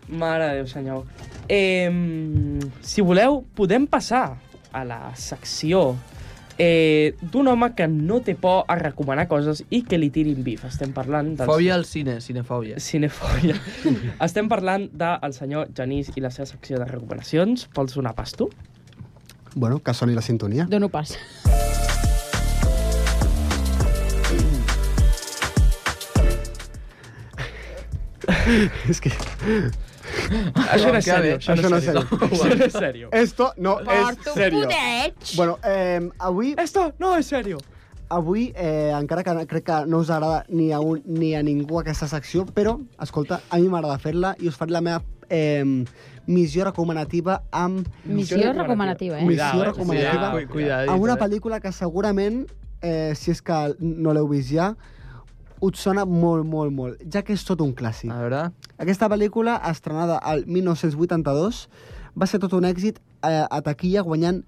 G: mare de Déu, senyor. Eh, si voleu, podem passar a la secció eh, d'un home que no té por a recomanar coses i que li tirin bif. Estem parlant del...
I: Fòbia al cine, cinefòbia.
G: Cinefòbia. Estem parlant del senyor Genís i la seva secció de recomanacions. Vols donar pas tu?
F: Bueno, que soni la sintonia.
H: Dono pas.
F: és que...
G: Això no és
I: que bé,
G: sèrio.
F: això no és
G: Això no és sèrio.
F: Esto no és
H: Porto un
F: serio.
H: puteig!
F: Bueno, eh, avui,
G: Esto no és sèrio.
F: avui eh, encara que crec que no us agrada ni a, un, ni a ningú aquesta secció, però, escolta, a mi m'agrada fer-la i us faré la meva eh, missió recomanativa amb,
H: Missió recomanativa, eh?
F: Missió recomanativa.
G: eh.
I: Cuidado, cuidado.
F: amb una pel·lícula que segurament, eh, si és que no l'heu vist ja, us sona molt, molt, molt, ja que és tot un clàssic.
I: A veure...
F: Aquesta pel·lícula, estrenada al 1982, va ser tot un èxit eh, a taquilla, guanyant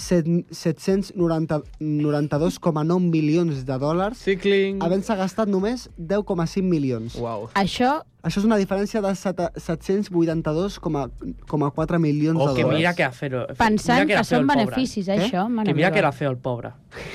F: set- 792,9 milions de dòlars,
G: Mm.
I: Cicling.
F: havent-se gastat només 10,5 milions.
I: Uau.
H: Això,
F: Això és una diferència de seta- 782,4 milions
G: O
F: de
G: Oh, que
F: dòlars.
G: mira que era feo.
H: eh? pensant
G: mira
H: que,
G: era
H: que
G: feo
H: són
G: el pobre.
H: beneficis, eh? això, mare
G: Que mira
H: meva.
G: que era feo el pobre.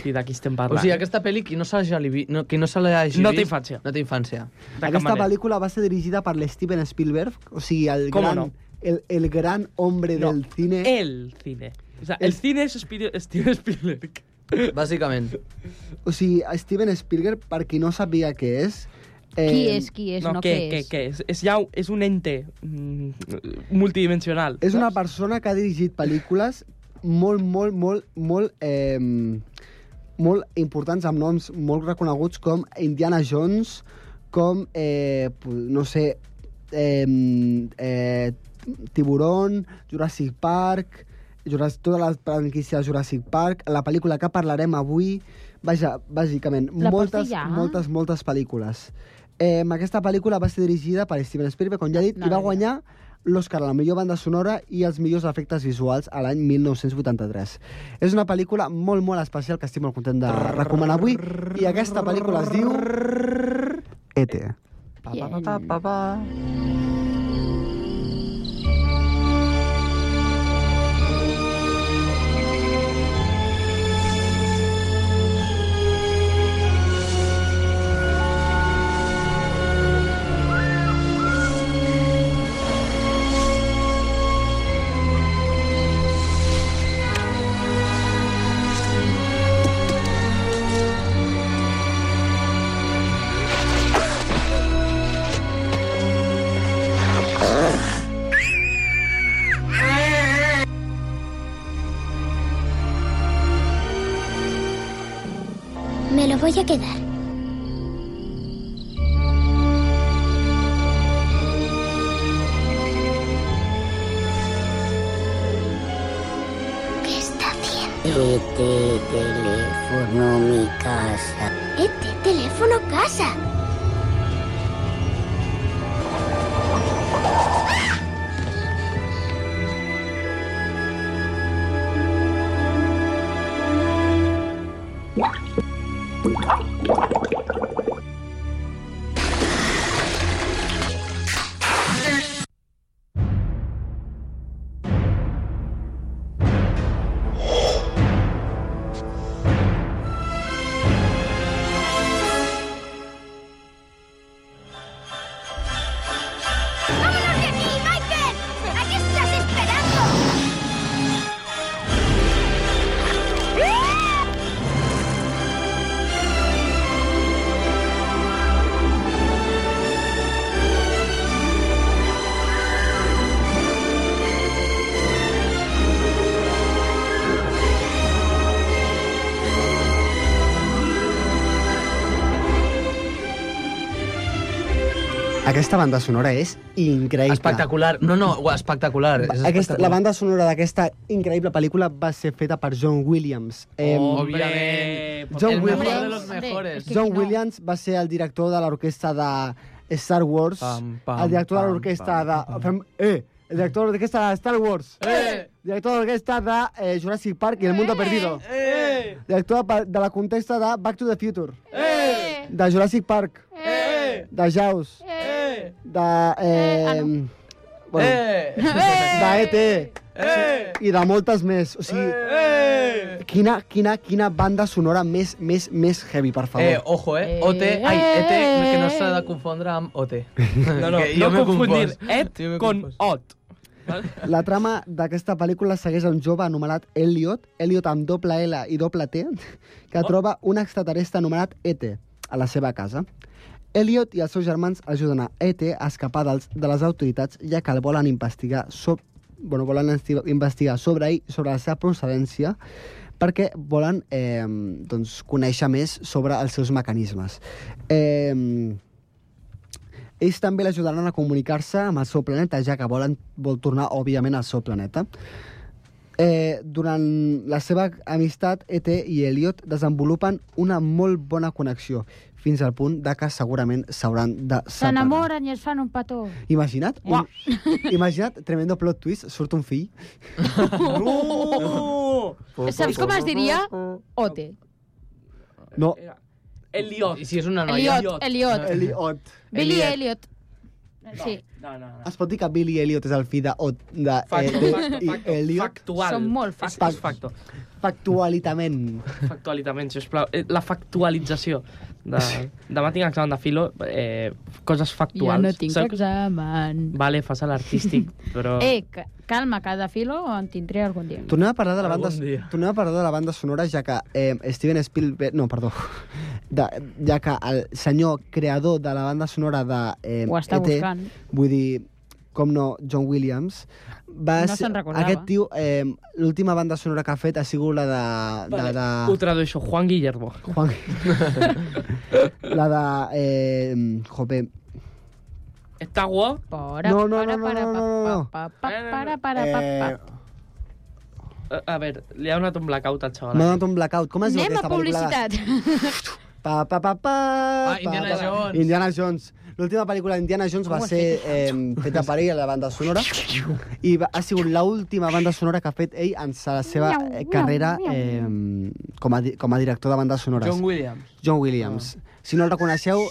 G: I d'aquí estem
I: O
G: parlant.
I: sigui, aquesta pel·li, qui no se l'hagi vi- no, qui no se l'hagi
G: eh? No té
I: vist...
G: infància.
I: No té infància.
G: De cap
F: Aquesta
G: manera.
F: pel·lícula va ser dirigida per l'Steven Spielberg, o sigui, el
G: Com
F: gran,
G: no?
F: el, el gran hombre
G: No, Eh.
F: del cine.
G: El cine. O sea, el
F: Es-
G: cine és Spir- Steven Spielberg.
I: Bàsicament.
F: O sigui, Steven Spielberg, per qui no sabia què és... Eh,
H: Qui és, qui és, no,
G: què,
H: què
G: què,
H: és.
G: què és? És, ja, un- és un ente mm, multidimensional.
F: És una
G: saps?
F: persona que ha dirigit pel·lícules molt, molt, molt, molt... Eh, molt importants, amb noms molt reconeguts com Indiana Jones, com, eh, pu- no sé, eh, eh, Tiburón, Jurassic Park, Jurassic, tota la franquícia de Jurassic Park, la pel·lícula que parlarem avui, vaja, bàsicament,
H: La pots
F: moltes,
H: dir ja?
F: moltes, moltes pel·lícules. Eh, aquesta pel·lícula va ser dirigida per Steven Spielberg, com ja he dit,
H: No,
F: i va
H: no, no.
F: guanyar l'Oscar a la millor banda sonora i els millors efectes visuals a l'any 1983. És una pel·lícula molt, molt especial que estic molt content de recomanar avui i aquesta pel·lícula es diu... E E.T.
H: Bien.
J: Me lo voy a quedar. ¿Qué está haciendo?
D: Este teléfono mi casa.
J: Este teléfono casa. ¡Vámonos de aquí, Michael! ¿A qué estás esperando?
F: Aquesta banda sonora és increïble.
I: Espectacular. No, no, ua, espectacular. És
F: Aquesta,
I: espectacular.
F: la banda sonora d'aquesta increïble pel·lícula va ser feta per John Williams. Em,
I: Obviamente.
F: John
I: el mejor
F: Williams.
I: de los
H: Hombre,
I: mejores.
H: es que-
F: John
H: no.
F: Williams va ser el director de l'orquestra de Star Wars,
I: Pam, pam,
F: el director de
I: pam,
F: l'orquestra
I: pam,
F: de...
I: pam.
F: Fem, eh! El director de l'orquestra de Star Wars.
I: Eh!
F: Director de l'orquestra de eh, Jurassic Park i El Mundo Perdido.
I: Eh!
F: Director de, de la contesta de Back to the Future.
I: Eh!
F: De Jurassic Park.
I: Eh!
F: De Jaws.
I: Eh!
F: De... Eh,
H: Eh, ah,
F: bueno,
I: Eh!
F: De E.T.
I: Eh!
F: I de moltes més. O sigui,
I: Eh!
F: quina, quina, quina banda sonora més, més, més heavy, per favor.
I: Eh, ojo, eh? OT, ai, ET, que no s'ha de confondre amb OT.
G: No, no,
I: Que
G: no
I: jo m'he
G: confundir
I: confós.
G: et
I: Jo m'he
G: con
I: confós.
G: ot.
F: La trama d'aquesta pel·lícula segueix un jove anomenat Elliot, Elliot amb doble L i doble T, que troba un extraterrestre anomenat E.T. a la seva casa. Elliot i els seus germans ajuden a E.T. a escapar dels, de les autoritats, ja que el volen investigar sobre, bueno, volen esti- investigar sobre ell, sobre la seva procedència, perquè volen eh, doncs, conèixer més sobre els seus mecanismes. Eh, ells també l'ajudaran a comunicar-se amb el seu planeta, ja que volen, vol tornar, òbviament, al seu planeta. Eh, durant la seva amistat, E.T. i Elliot desenvolupen una molt bona connexió, fins al punt de que segurament s'hauran de separar.
H: S'enamoren i es fan un petó.
F: Imagina't, im imagina't, tremendo plot twist, surt un fill.
G: No!
H: Saps com es diria? Ote.
F: No,
G: Eliot.
I: I si és una noia?
H: Eliot, Eliot.
F: Elliot.
H: Billy
I: Elliot.
H: Elliot. Sí,
G: No, no, no.
F: Es pot dir que Billy Elliot és el fill de, Ot- de
G: Facto,
F: E.T.
G: facto,
F: i
G: facto,
F: Elliot?
G: factual.
H: Són molt
G: És- és
F: factos.
G: facto.
F: Factualitament.
G: Factualitament, sisplau. Eh, La factualització. De... Demà tinc examen de filo, eh, coses
H: jo
G: factuals.
H: no tinc
G: Sóc-
H: examen.
G: Vale, fas a l'artístic, però...
H: Eh, ca- calma, cada filo en tindré algun dia.
F: Tornem a parlar de la
I: Algun
F: banda,
I: dia.
F: tornem a parlar de la banda sonora, ja que eh, Steven Spielberg... No, perdó. De, ja que el senyor creador de la banda sonora de eh,
H: Ho està buscant.
F: vull dir, com no, John Williams, va
H: No
F: ser-
H: se'n recordava.
F: Aquest tio, eh, l'última banda sonora que ha fet ha sigut la de...
G: Vale,
F: de,
G: Ho
F: de
G: tradueixo, Juan Guillermo.
F: Juan... la de... Eh, jope...
G: Star Wars,
H: Para,
F: No, no,
H: para,
F: no, no,
H: para,
F: no,
H: pa,
F: no, no.
H: pa, pa,
G: Eh,
H: para, para, pa, pa.
F: Eh,
G: a, Eh, a veure, li ha donat un blackout al xaval. eh?
F: M'ha donat un blackout. Com es diu
H: Anem a
F: aquesta
H: publicitat.
F: Pa, pa, pa, pa,
I: Ah, Indiana
F: pa, pa.
I: Jones.
F: Indiana Jones. L'última pel·lícula d'Indiana Jones va ser eh, feta per ell a la banda sonora i va, ha sigut l'última banda sonora que ha fet ell en sa- la seva eh, carrera eh, com, a, di- com a director de bandes sonores.
I: John Williams.
F: John Williams. Si no el reconeixeu,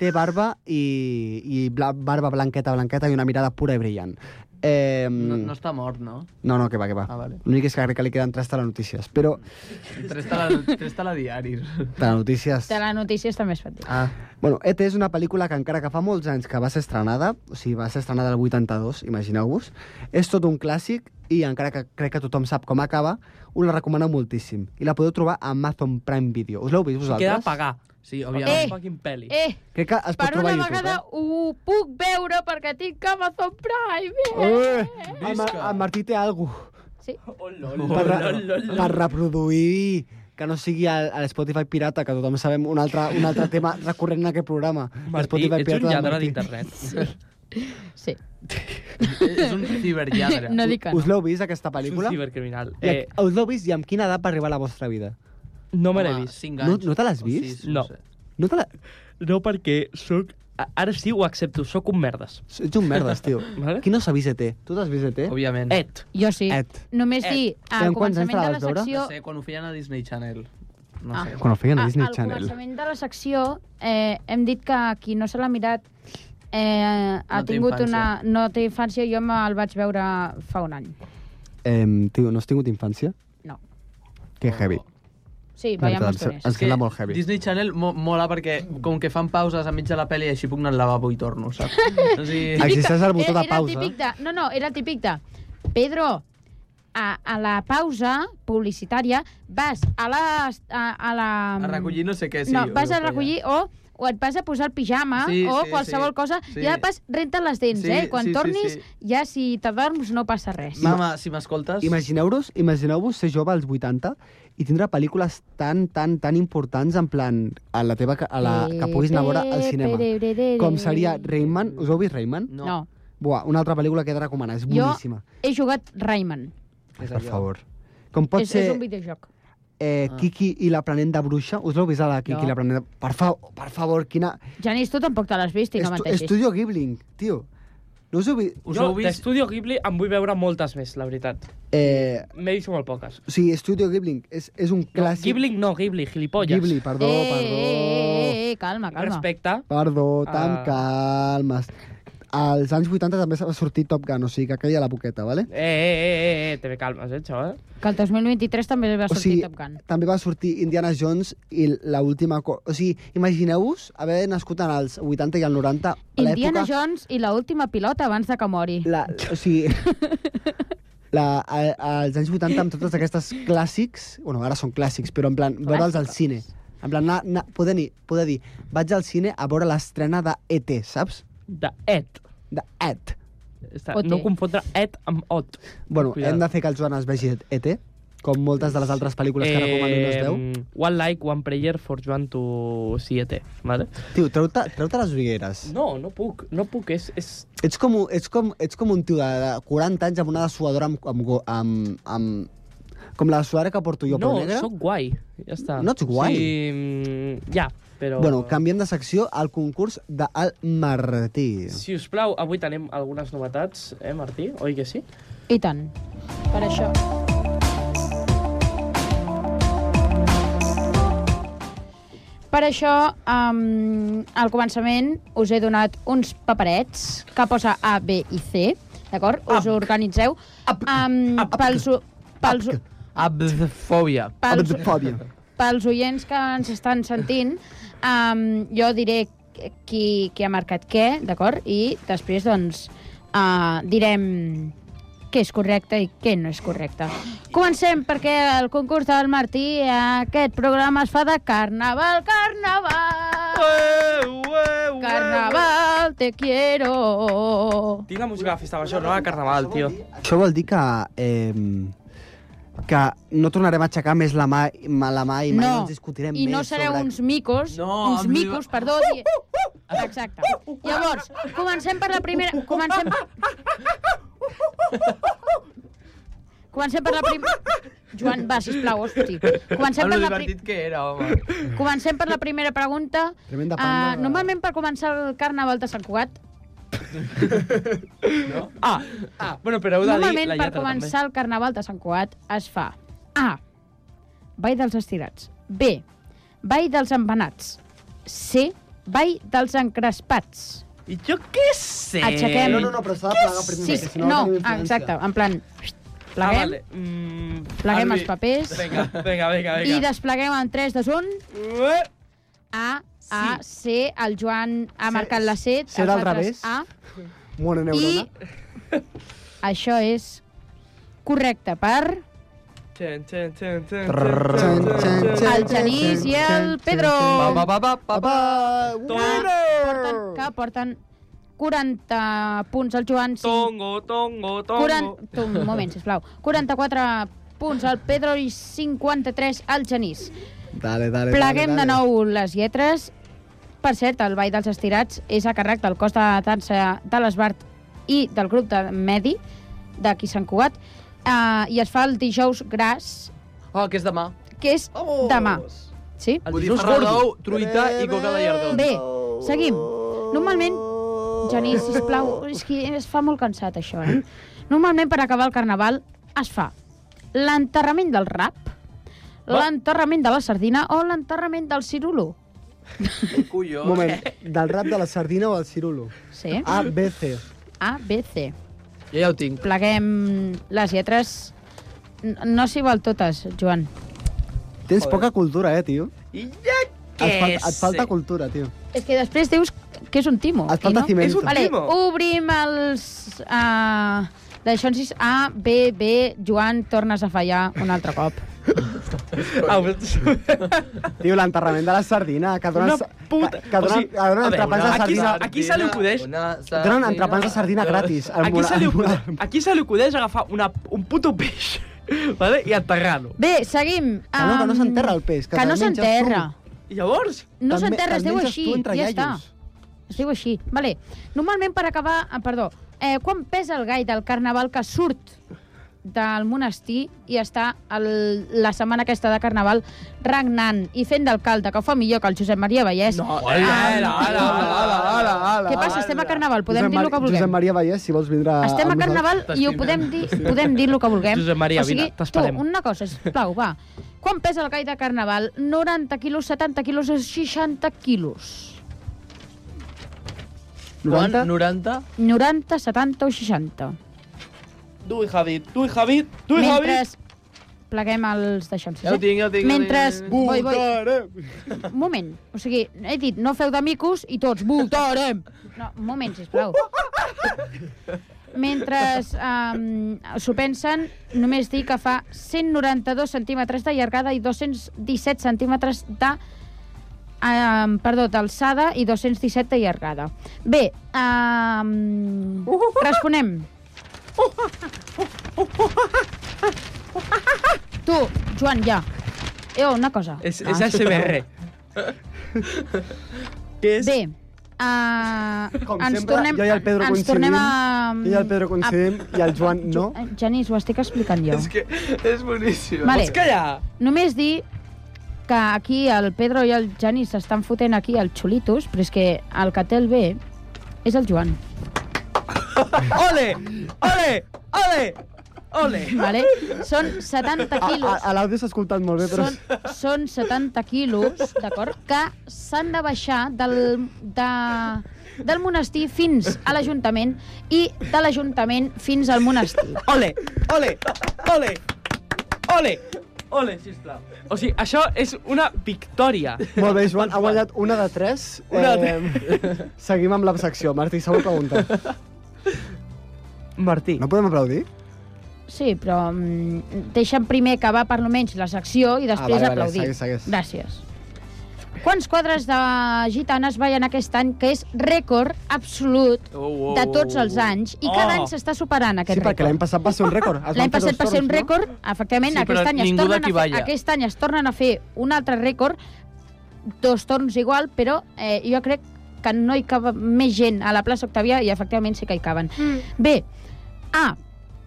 F: té barba i, i bla, barba blanqueta, blanqueta i una mirada pura i brillant. Eh,
I: No, no està mort, no?
F: no, no, que va, que va.
I: Ah, vale.
F: L'únic és que crec que li queden tres telenotícies, però
I: Tres tele- tres telediaris.
F: telenotícies...
H: De la notícia està més petit.
F: Ah. Bueno, ET és una pel·lícula que encara que fa molts anys que va ser estrenada, o sigui, va ser estrenada el 82, imagineu-vos, és tot un clàssic i encara que crec que tothom sap com acaba, us la recomano moltíssim. I la podeu trobar a Amazon Prime Video. Us l'heu vist vosaltres?
G: Queda a pagar.
I: Sí,
G: Eh,
I: òbviament.
G: fucking peli.
H: Eh,
F: Crec que es pot
H: per
F: trobar
H: una
F: a YouTube,
H: vegada
F: eh?
H: ho puc veure perquè tinc Amazon Prime.
F: Eh, en,
I: Visca.
F: en Martí té alguna
H: Sí.
G: Oh, lol,
F: per,
G: lol,
F: re,
G: lol, lol, lol.
F: per reproduir que no sigui el, el Spotify pirata, que tothom sabem un altre, un altre tema recurrent en aquest programa.
G: Martí,
F: Spotify
G: ets un
F: de
G: lladre
F: Martí.
G: d'internet.
H: Sí,
I: És un ciberlladre.
H: no dic que no.
F: Us l'heu vist, aquesta
G: Ets un
F: pel·lícula?
G: cibercriminal.
F: I
G: Eh,
F: eh... us l'heu vist i amb quina edat va arribar a la vostra vida?
G: no me l'he
I: Home,
G: vist.
I: cinc
F: No-
I: anys.
F: no te l'has
I: O sis,
F: vist?
G: No.
I: sé.
F: No te la...
G: No, perquè sóc... a- Ara sí ho accepto, sóc un merdes.
F: Ets un merdes, tio.
G: Vale.
F: Qui no s'ha vist ET? Tu t'has vist E ET?
I: Òbviament.
G: Et.
H: Jo sí.
F: Et.
H: Només
G: Eh,
H: dir,
F: i
H: al
F: en quants anys
H: començament de
F: te la
H: la
F: vas veure?
H: secció...
I: No sé, quan ho feien a Disney Channel. No
H: Ah.
I: sé.
F: Quan ho feien
H: Ah,
F: a Disney
H: al
F: Channel.
H: començament de la secció eh, hem dit que qui no se l'ha mirat eh, ha
I: No té
H: tingut
I: infància.
H: una... No té infància, jo me'l vaig veure fa un any.
F: Eh, tio, no has tingut infància?
H: No.
F: Que heavy.
H: Sí,
F: La
H: veiem
F: veritat,
H: els
F: ens,
H: toners.
F: ens queda molt heavy.
I: Disney Channel mo mola perquè com que fan pauses a mig de la pel·li així puc anar al lavabo i torno, saps? o sigui,
F: Existeix el botó
H: Era, era
F: de
H: el
F: pausa.
H: típic de... No, no, era el típic de... Pedro, a, a la pausa publicitària vas a la... A, a, la... mm,
I: a recollir no sé què. Sí,
H: no,
I: ho
H: vas a
I: feia.
H: recollir o, o et vas a posar el pijama
I: Sí,
H: o
I: sí,
H: qualsevol
I: sí.
H: cosa
I: Sí.
H: i ja pas renta les dents,
I: Sí,
H: eh? Quan
I: sí, sí,
H: tornis,
I: sí.
H: ja si t'adorms no passa res.
I: Mama, si m'escoltes...
F: Imagineu-vos imagineu ser jove als 80 i tindre pel·lícules tan, tan, tan importants en plan a la teva, ca- a la, que puguis anar a veure al cinema. Com seria Rayman. Us heu vist Rayman?
I: No.
H: No,
F: Buah, una altra pel·lícula que he de recomanar. És
H: Jo-
F: boníssima.
H: he jugat Rayman.
I: És
F: Per
I: allò.
F: favor. Com pot
H: és,
F: ser...
H: és un videojoc.
F: eh,
I: Ah.
F: Kiki i l'aprenent de bruixa. Us l'heu vist a la Kiki
H: No.
F: i l'aprenent de... Per, fa... per favor, quina...
H: Janis, tu tampoc te l'has vist i no
F: Estu-
H: menteixis.
F: Estudio Ghibli, tio. No us heu vist...
I: Us
G: Jo,
I: heu vist?
G: d'Estudio Ghibli, em vull veure moltes més, la veritat.
F: Eh,
G: M'he vist molt poques.
F: o sigui, Estudio Ghibli és, és un clàssic...
G: Ghibli no, Ghibli, gilipolles.
F: Ghibli, perdó,
H: eh,
F: perdó.
H: eh, eh, eh, calma, calma.
G: Respecte.
F: Perdó, tan
G: Ah.
F: calmes. Als anys 80 també va sortir Top Gun, o sigui que aquella la boqueta, vale?
G: Eh, eh, eh, eh, eh, te me calmes, eh, xaval.
H: Que el 2023 també va
F: O
H: sortir
F: sigui,
H: Top Gun.
F: també va sortir Indiana Jones i l'última... co- O sigui, imagineu-vos haver nascut en els 80 i el 90, a
H: Indiana
F: l'època...
H: Jones i la última pilota abans de que mori.
F: La, o sigui... La, a, als anys 80, amb totes aquestes clàssics... Bueno, ara són clàssics, però en plan, veure'ls al cine. En plan, anar, anar, poder, ni, poder dir, vaig al cine a veure l'estrena de ET, saps?
G: De et.
F: De ET.
G: Està,
H: Ote.
G: no confondre et amb ot.
F: Bueno,
G: Cuidado.
F: hem de fer que el Joan es vegi ET, E com moltes de les altres pel·lícules que recomano i
G: Eh,
F: no es veu.
G: mm. one like, one prayer for Joan to siete, vale?
F: Tio, treu-te treu les ulleres.
G: No, no puc, no puc, és... és...
F: Ets com, un- ets, com, ets com un tio de, de 40 anys amb una dessuadora amb, amb, go- amb, amb, com la dessuadora que porto jo,
G: no,
F: però negra.
G: sóc guai, ja està.
F: No ets guai.
G: Sí, mm, ja, però...
F: Bueno, canviem de secció al concurs del Martí.
G: Si us plau, avui tenim algunes novetats, eh, Martí? Oi que sí?
H: I tant. Per això. Per això, um, al començament us he donat uns paperets que posa A, B i C, d'acord? Us organitzeu um, pels, o- pels, o-
I: Abdfòbia.
H: pels,
F: Abdfòbia.
H: pels oients que ens estan sentint, um, jo diré qui, qui ha marcat què, d'acord? I després, doncs, uh, direm què és correcte i què no és correcte. Comencem perquè el concurs del Martí, eh, aquest programa es fa de carnaval, carnaval, carnaval, te quiero.
G: Tinc la música de festa major, no de carnaval, tio.
F: Això vol dir que... Eh, que no tornarem a aixecar més la mà, ma- la mà i mai no, ens discutirem
H: i
F: més
H: no sereu
F: sobre... Uh,
H: uns micos,
I: No,
H: uns
I: amb li-
H: micos, perdó, di... Exacte. Llavors, comencem per la primera... Comencem... Comencem per la primera... Joan, va, sisplau, hosti. Comencem
I: Amb
H: per
I: lo
H: la, pri...
I: divertit que era, home.
H: comencem per la primera pregunta. Uh,
F: Tremenda panda.
H: normalment per començar el carnaval de Sant Cugat,
G: Ah, ah. Bueno, però heu de dir
H: normalment
G: la
H: per
G: lletra,
H: començar el carnaval de Sant Cugat es fa A. Ball dels estirats B. Ball dels empanats C. Ball dels encrespats
G: també. I jo què sé?
H: Aixequem.
F: No, no, no, però s'ha de plegar primer,
H: Sí,
F: perquè
H: sí,
F: si no, no
H: no, ah,
F: tenim influència.
H: exacte, en plan...
G: Ah,
H: Pleguem,
G: vale. Mm,
H: pleguem
G: Albi,
H: els papers
G: Vinga, vinga, vinga. Uh!
H: i
G: vinga.
H: despleguem en 3, 2, 1...
G: Ué!
H: A, A, C, el Joan ha marcat la C,
F: C era al
H: els altres
F: revés.
H: A,
F: Mona
H: i
F: neurona.
H: això és correcte per
G: Txen, txen, txen, txen,
F: Trrr.
G: txen, txen,
F: Txen,
G: txen,
F: txen,
G: txen.
H: el Genís i el Pedro.
I: Pa, pa, pa, pa, pa,
F: Papa!
I: pa.
F: Ui,
H: porten, que porten 40 punts al Joan, 5,
G: Tongo, tongo, tongo.
H: 40, un moment, sisplau, 44 punts al Pedro i 53 al Genís.
F: Dale, dale,
H: Pleguem
F: dale,
H: de
F: dale.
H: nou les lletres. Per cert, el Ball dels Estirats és a càrrec del cos de dansa de l'Esbart i del grup de Medi d'aquí Sant Cugat uh, i es fa el dijous gras,
I: Oh, que és demà.
H: que és
I: Vamos.
H: demà. Sí?
I: El dijous gordo. Ou, truita i coca de llardó.
H: Bé, seguim. Normalment, Genís, sisplau, és que es fa molt cansat això, eh? Normalment per acabar el carnaval es fa l'enterrament del rap, l'enterrament de la sardina o l'enterrament del cirulo.
I: Collons.
F: Un moment, del rap de la sardina o el cirulo?
H: Sí?
G: Ah.
F: A, B, C.
H: A, B, C.
I: Jo ja ho tinc.
H: Pleguem les lletres... N- No s'hi val totes, Joan.
F: Tens poca cultura, eh, tio?
G: I ja què
F: Et, falta, et falta
G: sé?
F: cultura, tio.
H: És que després dius que és un timo.
F: Et falta
H: i no?
F: cimento.
G: És un
H: Vale,
G: timo.
H: obrim els... Uh, D'això en sis, A, B, B, Joan, tornes a fallar un altre cop.
G: Au, però-
F: Tio, l'enterrament de la sardina, que donen...
G: Una puta...
F: Que, que donen, que
G: sigui,
F: donen
G: a veure,
F: entrepans de
G: aquí-
F: sardina...
G: Aquí se li acudeix...
I: Una
F: Donen entrepans de sardina gratis. al
G: Aquí se li
F: Mola-
G: acudeix, aquí se li acudeix agafar una, un puto peix vale? i enterrar-lo.
H: Bé, seguim.
F: Que no, que no
H: Am,
F: s'enterra el peix, que
H: Que,
F: te'l
H: no
F: menges
H: s'enterra.
G: I llavors,
H: No
F: Te'l me-
H: s'enterra, es
F: te'l
H: diu
F: menges
H: així,
F: tu entre
H: ja està.
F: iaios.
H: Es diu així. Vale. Normalment per acabar... Ah, perdó. Eh, quan pesa el gai del carnaval que surt del monestir i està el, la setmana aquesta de carnaval regnant i fent d'alcalde, que ho fa millor que el Josep Maria Vallès.
G: No,
H: Ah,
G: hola, hola, hola, hola,
F: hola.
H: Què passa? Estem a carnaval, podem
F: Josep
H: dir el que
F: Mar- Josep
H: vulguem.
F: Maria Vallès, si vols vindre...
H: Estem a
F: Ah, amb nosaltres.
H: carnaval i ho
I: T'estimem.
H: podem dir, podem dir el que vulguem.
G: Josep Maria,
H: o sigui,
G: vine, t'esperem.
H: Tu, una cosa, sisplau, va. Quan pesa el gai de carnaval? 90 quilos, 70 quilos o 60 quilos?
F: 90?
I: 90? 90?
H: 90, 70 o 60?
G: tu i Javid, tu i Javid, tu i
H: Mentre
G: Javid.
H: pleguem els d'aixons.
I: Ja ho tinc, ja ho tinc.
H: Mentre... Voi, voi,
F: Votarem!
H: un moment. O sigui, he dit, no feu d'amicus i tots, voltarem. No, un moment, sisplau. Mentre um, s'ho pensen, només dic que fa 192 centímetres de llargada i 217 centímetres de um, perdó, d'alçada i 217 de llargada. Bé, um, responem. Tu, Joan, ja. Eh, una cosa.
G: És,
H: Ah,
G: és ASMR. Què és?
H: Bé, uh,
F: Com
H: ens
F: sempre,
H: tornem,
F: jo i el Pedro
H: ens tornem a...
F: Jo i el Pedro coincidim i el Joan no.
H: A... Genís, ho estic explicant jo.
I: És que és boníssim.
H: Vale,
G: Pots callar?
H: només dir que aquí el Pedro i el Genís s'estan fotent aquí el xulitos, però és que el que té el bé és el Joan,
G: Ole, ole, ole, ole.
H: vale? Són 70
F: A, a,
H: quilos.
F: a l'àudio s'ha escoltat molt bé, però...
H: Són, són 70 quilos, d'acord? Que s'han de baixar del, de, del monestir fins a l'Ajuntament i de l'Ajuntament fins al monestir.
G: Ole, ole, ole, ole, ole, sisplau. O sigui, això és una victòria.
F: Molt bé, Joan, ha guanyat una de tres.
G: Una de
F: Eh, seguim amb la secció. Martí, següent pregunta.
G: Martí.
F: No podem aplaudir?
H: Sí, però mm, deixa'm primer acabar per lo menys la secció i després
F: Ah, vale, vale,
H: aplaudir.
F: segueix, segueix.
H: Gràcies. Quants quadres de gitanes ballen aquest any, que és rècord absolut
I: Oh, oh,
H: de tots
I: oh,
H: els
I: oh.
H: anys, i cada
G: Oh.
H: any s'està superant aquest
F: Sí, perquè l'any
H: rècord.
F: passat va ser un rècord. Es
H: L'any
F: van fer
H: passat
F: dos
H: va ser un
F: torns, no?
H: rècord, efectivament,
I: Sí, però
H: aquest, any es
I: ningú
H: tornen
I: d'aquí
H: a fer,
I: balla.
H: aquest any es tornen a fer un altre rècord, dos torns igual, però eh, jo crec que no hi cava més gent a la plaça Octavià i efectivament sí que hi caben.
J: Mm.
H: B. A.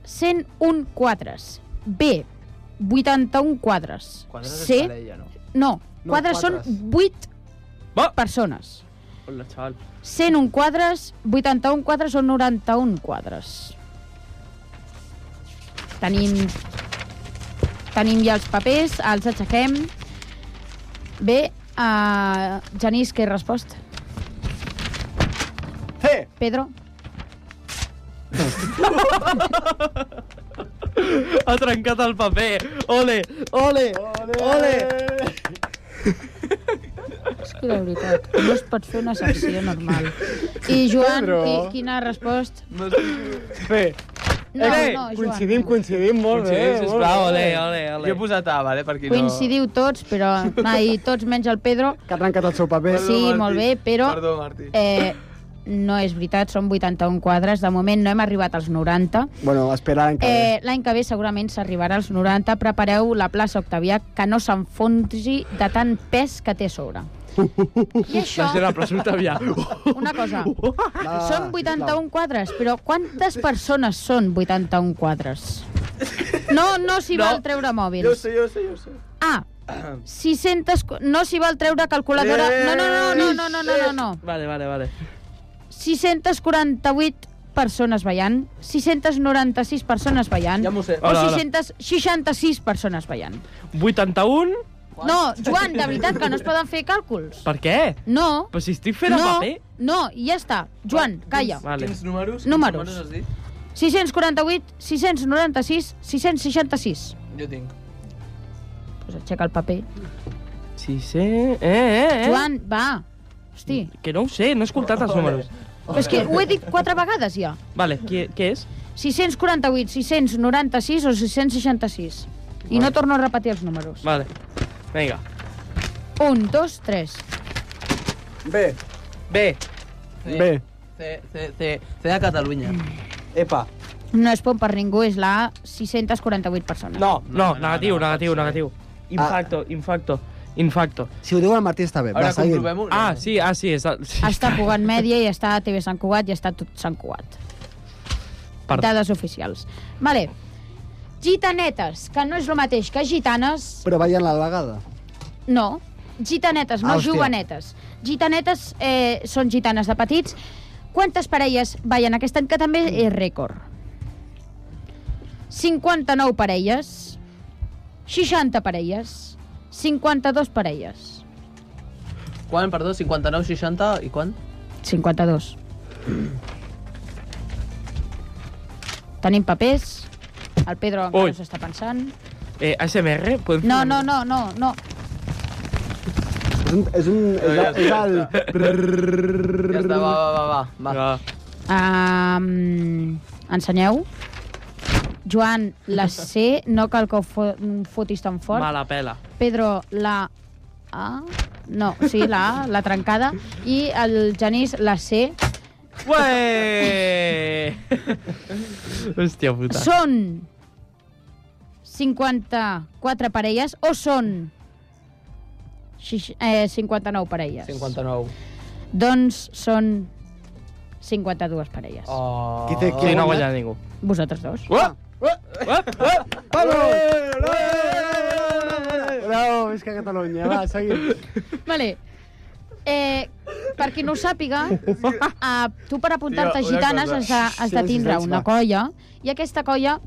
H: 101 quadres. B. 81 quadres.
F: Quadres és
H: C.
F: parella, no?
H: No,
F: No,
H: quadres són
F: quadres.
H: 8
G: Va!
H: persones.
G: Hola, xaval.
H: 101 quadres, 81 quadres o 91 quadres. Tenim... Tenim ja els papers, els aixequem. Bé, uh, Genís, què resposta?
F: C!
H: Pedro?
G: Ha trencat el paper. Ole, ole, ole. ole.
H: És que la veritat, no es pot fer una secció normal. I Joan, qui, quina resposta?
K: Bé,
H: No,
G: Eh,
H: no, Oh, Joan.
K: coincidim, coincidim molt
G: Sí,
K: bé. molt
G: sisplau,
K: bé.
G: ole, ole, ole.
I: Jo he posat A, vale, per qui
H: Coincidiu tots, però... Ai, tots menys el Pedro.
F: Que ha trencat el seu paper.
I: no...
H: Pues Sí, molt bé, però-
I: Perdó, Martí.
H: Eh, no és veritat, són 81 quadres. De moment no hem arribat als 90.
F: Bueno, esperant que... Eh...
H: Eh, L'any que ve segurament s'arribarà als 90. Prepareu la plaça Octavià que no s'enfonsi de tant pes que té a sobre. I això,
G: Deixa la plaça Octavià.
H: una cosa,
F: Va,
H: són
F: sisplau.
H: 81 quadres, però quantes persones són 81 quadres? No, no s'hi
I: No.
H: val treure
I: Jo ho
H: mòbils.
I: sé, jo ho sé, jo ho sé.
H: A, 600... cu- No s'hi val treure calculadora...
I: Eh,
H: No, no, no, no, no, no, no, no.
G: Vale, vale, vale.
H: 648 persones ballant, 696 persones ballant,
I: Ja m'ho sé.
H: o
G: Hola, hola.
H: 666 persones ballant.
G: 81?
H: No, Joan, de veritat que no es poden fer càlculs.
G: Per què?
H: No,
G: Però si estic fent
H: no,
G: el paper... doncs,
H: no, i ja està. Joan, calla.
G: Vale.
I: Quins números?
H: Números.
I: Quins números has dit?
H: 648, 696, 666.
I: Jo tinc.
H: Pues aixeca el paper.
G: Sí, sí. Eh, eh, Mm. eh.
H: Joan, va. Hosti,
G: Que no ho sé, no he escoltat els números.
H: però és que ho he dit quatre vegades ja.
G: Vale, què, què és?
H: 648, 696 o 666. I no torno a repetir els números.
G: Vale. Vinga.
H: Un, dos, tres.
F: B.
G: B.
F: B.
I: C, C, C, C de
H: Mm.
I: Catalunya.
H: Eh,
I: Epa.
H: No és pont per ningú, és la 648 persones.
G: No, no,
I: No, no,
G: negatiu,
I: no, no,
G: negatiu,
I: no,
G: negatiu. Infacto, infacto, infacto.
F: Si ho diu el Martí està bé. Va,
I: Ara
F: seguim.
I: comprovem-ho. no?
G: Ah, sí, ah, sí, està... Sí.
H: Està a Cugat Mèdia i està a TV Sant Cugat i està a tot Sant Cugat.
G: Per-
H: Dades oficials. Vale. Gitanetes, que no és el mateix que gitanes,
F: Però ballant la legada.
H: no. Gitanetes, no
F: Hòstia.
H: jovenetes. Gitanetes eh, són gitanes de petits. Quantes parelles ballen aquest any, que també és rècord? 59 parelles, 60 parelles, 52 parelles.
I: Quan, perdó, 59, 60 i quan?
H: 52. Tenim papers. El Pedro
G: Ui.
H: encara s'ho està pensant.
G: Eh, ASMR? Podem
H: No, no, no, no, no.
F: És un... És, un, és, el, és el...
I: Ja està, va, va, va, va. va.
G: Va.
H: Um, ensenyeu. Joan, la C, no cal que ho fo fotis tan fort.
G: Me la pela.
H: Pedro, la A... No, sí, la A, la trencada. I el Genís, la C.
G: Ué! Hòstia puta.
H: Són 54 parelles o són xix- eh, 59 parelles?
I: 59.
H: Doncs són 52 parelles. Oh.
I: Oh.
F: Qui té- qui
G: Sí,
F: ha
G: no ha
F: guanyat?
G: guanyat ningú.
H: Vosaltres dos.
G: Uah! Uah! Uah! Uah!
F: Eh, Bravo, visca Catalunya. Va, seguim.
H: Vale. Eh, per qui no ho sàpiga, eh, tu per apuntar-te a
I: Tio, una
H: gitanes
I: cosa.
H: has de, has de
F: Silenci,
H: tindre
F: silenci,
H: una
F: va.
H: colla i aquesta colla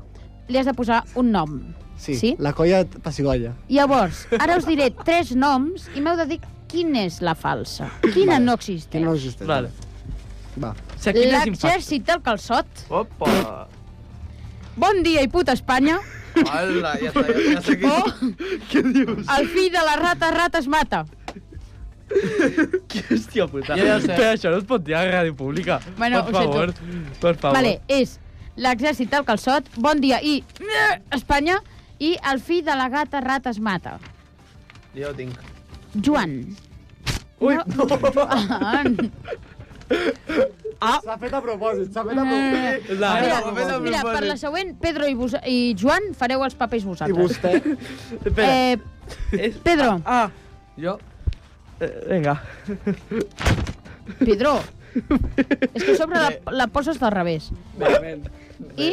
H: li has de posar un nom.
F: Sí,
H: Sí?
F: la colla passigolla.
H: Llavors, ara us diré tres noms i m'heu de dir quina és la falsa. Quina
F: Vale.
H: no existeix.
F: Que no existeix.
G: Vale.
F: Va.
G: Shakira és infant.
H: L'exèrcit del calçot.
I: Opa!
H: Bon dia i puta Espanya.
I: Hola, ja està, ja, ja sé qui...
H: O... Què dius? El fill de la rata, rata es mata.
G: Hòstia puta.
I: Ja, ja ho sé.
G: Però això no es pot dir a la ràdio pública.
H: Bueno,
G: per
H: Ah, ho sento.
G: favor. Per favor.
H: Vale, és l'exèrcit del calçot, bon dia i... eh, Espanya. I el fill de la gata, rata es mata.
I: Jo ho tinc.
H: Joan.
G: Ui.
H: No.
F: S'ha fet a propòsit, s'ha fet a
H: Eh,
F: propòsit.
G: La...
H: Mira,
I: ho fes a
H: mira, per la següent, Pedro i, vos i Joan fareu els papers
F: I
H: vosaltres.
F: vostè?
G: Espera.
H: Eh,
G: És-
H: Pedro,
G: Ah,
I: Jo?
G: eh, vinga.
H: Pedro. És que a sobre la, la poses del revés. I...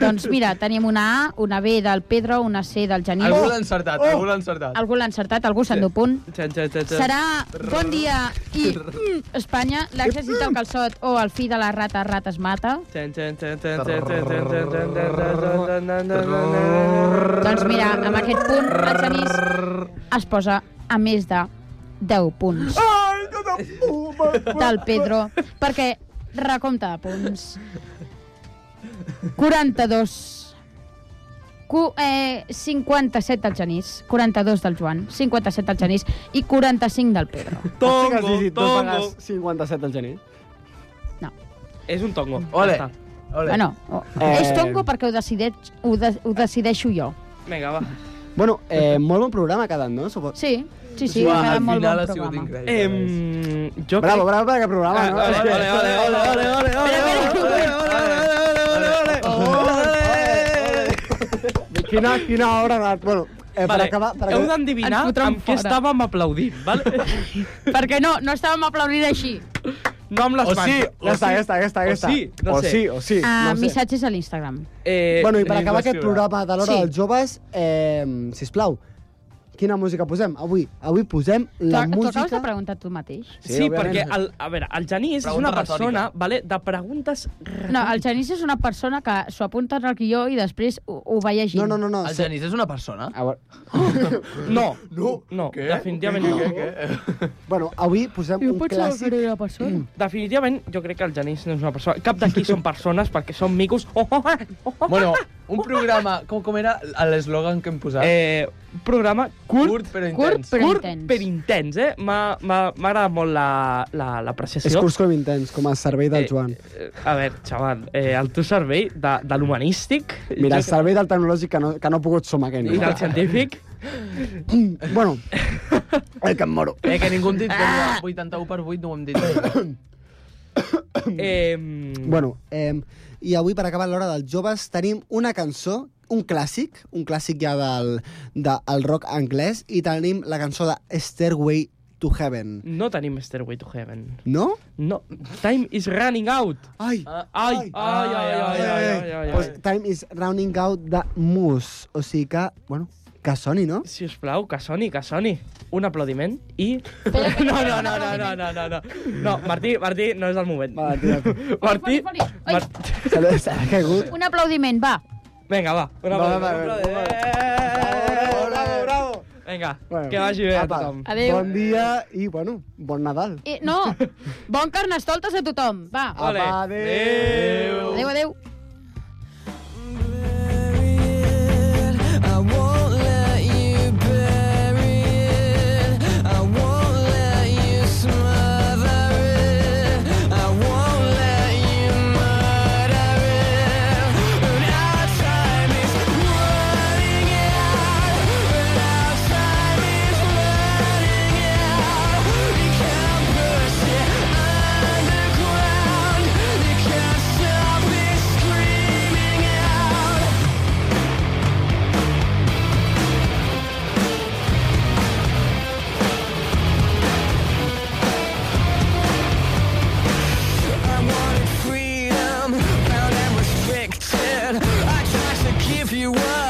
H: Doncs mira, tenim una A, una B del Pedro, una C del Genís.
G: Algú l'ha
H: Oh.
G: encertat, algú l'ha encertat.
H: Algú l'ha encertat, algú s'endú punt.
G: Xan, xan, xan, xan.
H: Serà Bon dia i mm, Espanya, l'exèrcit del calçot o el fi de la rata, rata es mata.
G: Xan, xan, xan, xan, xan, xan, xan, xan, xan, xan, xan, xan, xan.
H: Doncs mira, amb aquest punt el Genís es posa a més de 10 punts. Del Pedro, perquè recompte de punts. 42. Cu eh, 57 del Genís, 42 del Joan, 57 del Genís i 45 del Pedro.
L: Tongo, que has
G: Tongo,
L: dit dos
G: tongo.
L: vegades 57 al gener.
G: És un tongo.
L: Ole.
G: Ja està.
L: Ole.
H: Bueno, oh,
F: Eh.
H: és tongo perquè ho, decideix, ho, de, ho decideixo jo.
G: Vinga, va.
F: Bueno, eh, molt bon programa ha quedat, no? Supo...
H: Sí, sí, sí,
G: Uah,
H: ha quedat
G: al
H: molt
G: final
H: bon
G: ha sigut
H: programa.
G: increïble. Em, jo
F: Bravo,
G: crec-
F: bravo, bravo, que programa,
G: Ah,
F: no?
G: ole, ole, ole, ole, ole, ole, ole, ole, ole, ole, ole, ole, ole, ole, ole, ole.
F: Quina, quina obra d'art. Bueno, eh, per
G: Vale,
F: acabar... Per
G: heu
F: acabar...
G: d'endevinar
H: Ens fotran
G: amb què
H: fora.
G: estàvem aplaudint, vale?
H: Perquè no, no estàvem aplaudint així.
G: No amb les
F: O
G: mans.
F: sí, ja està, ja està, ja està.
G: o
F: Ja està.
G: sí, no
F: o
G: sé.
F: sí, o sí.
H: Uh,
F: no sé.
H: missatges a l'Instagram.
G: Eh,
F: Bueno, i per
G: tenim
F: acabar
G: que
F: aquest
G: escriure.
F: programa de l'hora
H: Sí.
F: dels joves, eh, sisplau, quina música posem? Avui avui posem la
H: Tu- Tu acabes
F: música...
H: de preguntar tu mateix?
G: Sí,
F: òbviament.
G: perquè, el, a veure, el Genís és Pregunta una persona retòrica. vale, de preguntes... re-
H: No, el Genís és una persona que s'ho apunta en el guió i després ho, ho va llegint.
F: No, no, no. no
G: El
F: sí.
G: Genís és una persona?
F: A veure,
G: No, no, no definitivament no.
F: bueno, avui posem
H: Jo
F: un
H: penso que
F: clàssic... Mm.
H: era una persona.
G: Definitivament, jo crec que el Genís no és una persona. Cap d'aquí són persones perquè són micos. Oh, oh, oh, oh.
I: Bueno, un programa... Com, com era l'eslògan que hem posat?
G: Eh, un programa curt, curt
I: però
H: Curt, però
G: curt
H: intens.
G: per intens, eh? M'ha m'ha- m'ha agradat molt la- la-
F: És
G: l'apreciació.
F: curs com intens, com el servei del
G: Eh,
F: Joan.
G: Eh, a veure, xaval, eh, el teu servei de, de l'humanístic
F: Mira,
G: jo
F: el servei del tecnològic que no, que no ha pogut sumar aquest.
G: crec- i del científic...
F: Bueno, ai, que em moro.
I: Eh, que ningú hem dit ah! 81 per 8, no ho hem dit.
G: Eh,
F: Bueno, eh, i avui per acabar l'hora dels joves tenim una cançó, un clàssic, un clàssic ja del, del rock anglès, i tenim la cançó de Stairway to Heaven.
G: No tenim Stairway to Heaven.
F: No?
G: No, time is running out.
F: Ai!
G: Ai, ai, ai, ai, ai, ai, ai,
F: Pues,
G: ai.
F: time is rounding out de Moose. O sigui que, bueno, que soni, no?
G: Si us plau, que soni, que soni. Un aplaudiment i... No, no, no, no, no, no, no, no. No, Martí, Martí, no és el moment.
F: Va, tira tu.
G: Martí...
H: Foli, foli. Ai.
G: Martí...
F: Se l'ha- se l'ha caigut.
H: Un aplaudiment, va.
G: Vinga, va. Un
F: va,
G: aplaudiment.
F: va.
G: un aplaudiment.
F: Bravo, bravo, bravo.
G: Vinga,
F: Bueno,
G: que vagi bé a
F: apa.
G: tothom.
H: Adéu.
F: Bon dia i, bueno, bon Nadal.
H: Eh, no, bon carnestoltes a tothom, va.
G: Ole.
F: Apa, adéu.
H: Adéu, adéu.
I: Freedom, bound and restricted. I tried to give you up.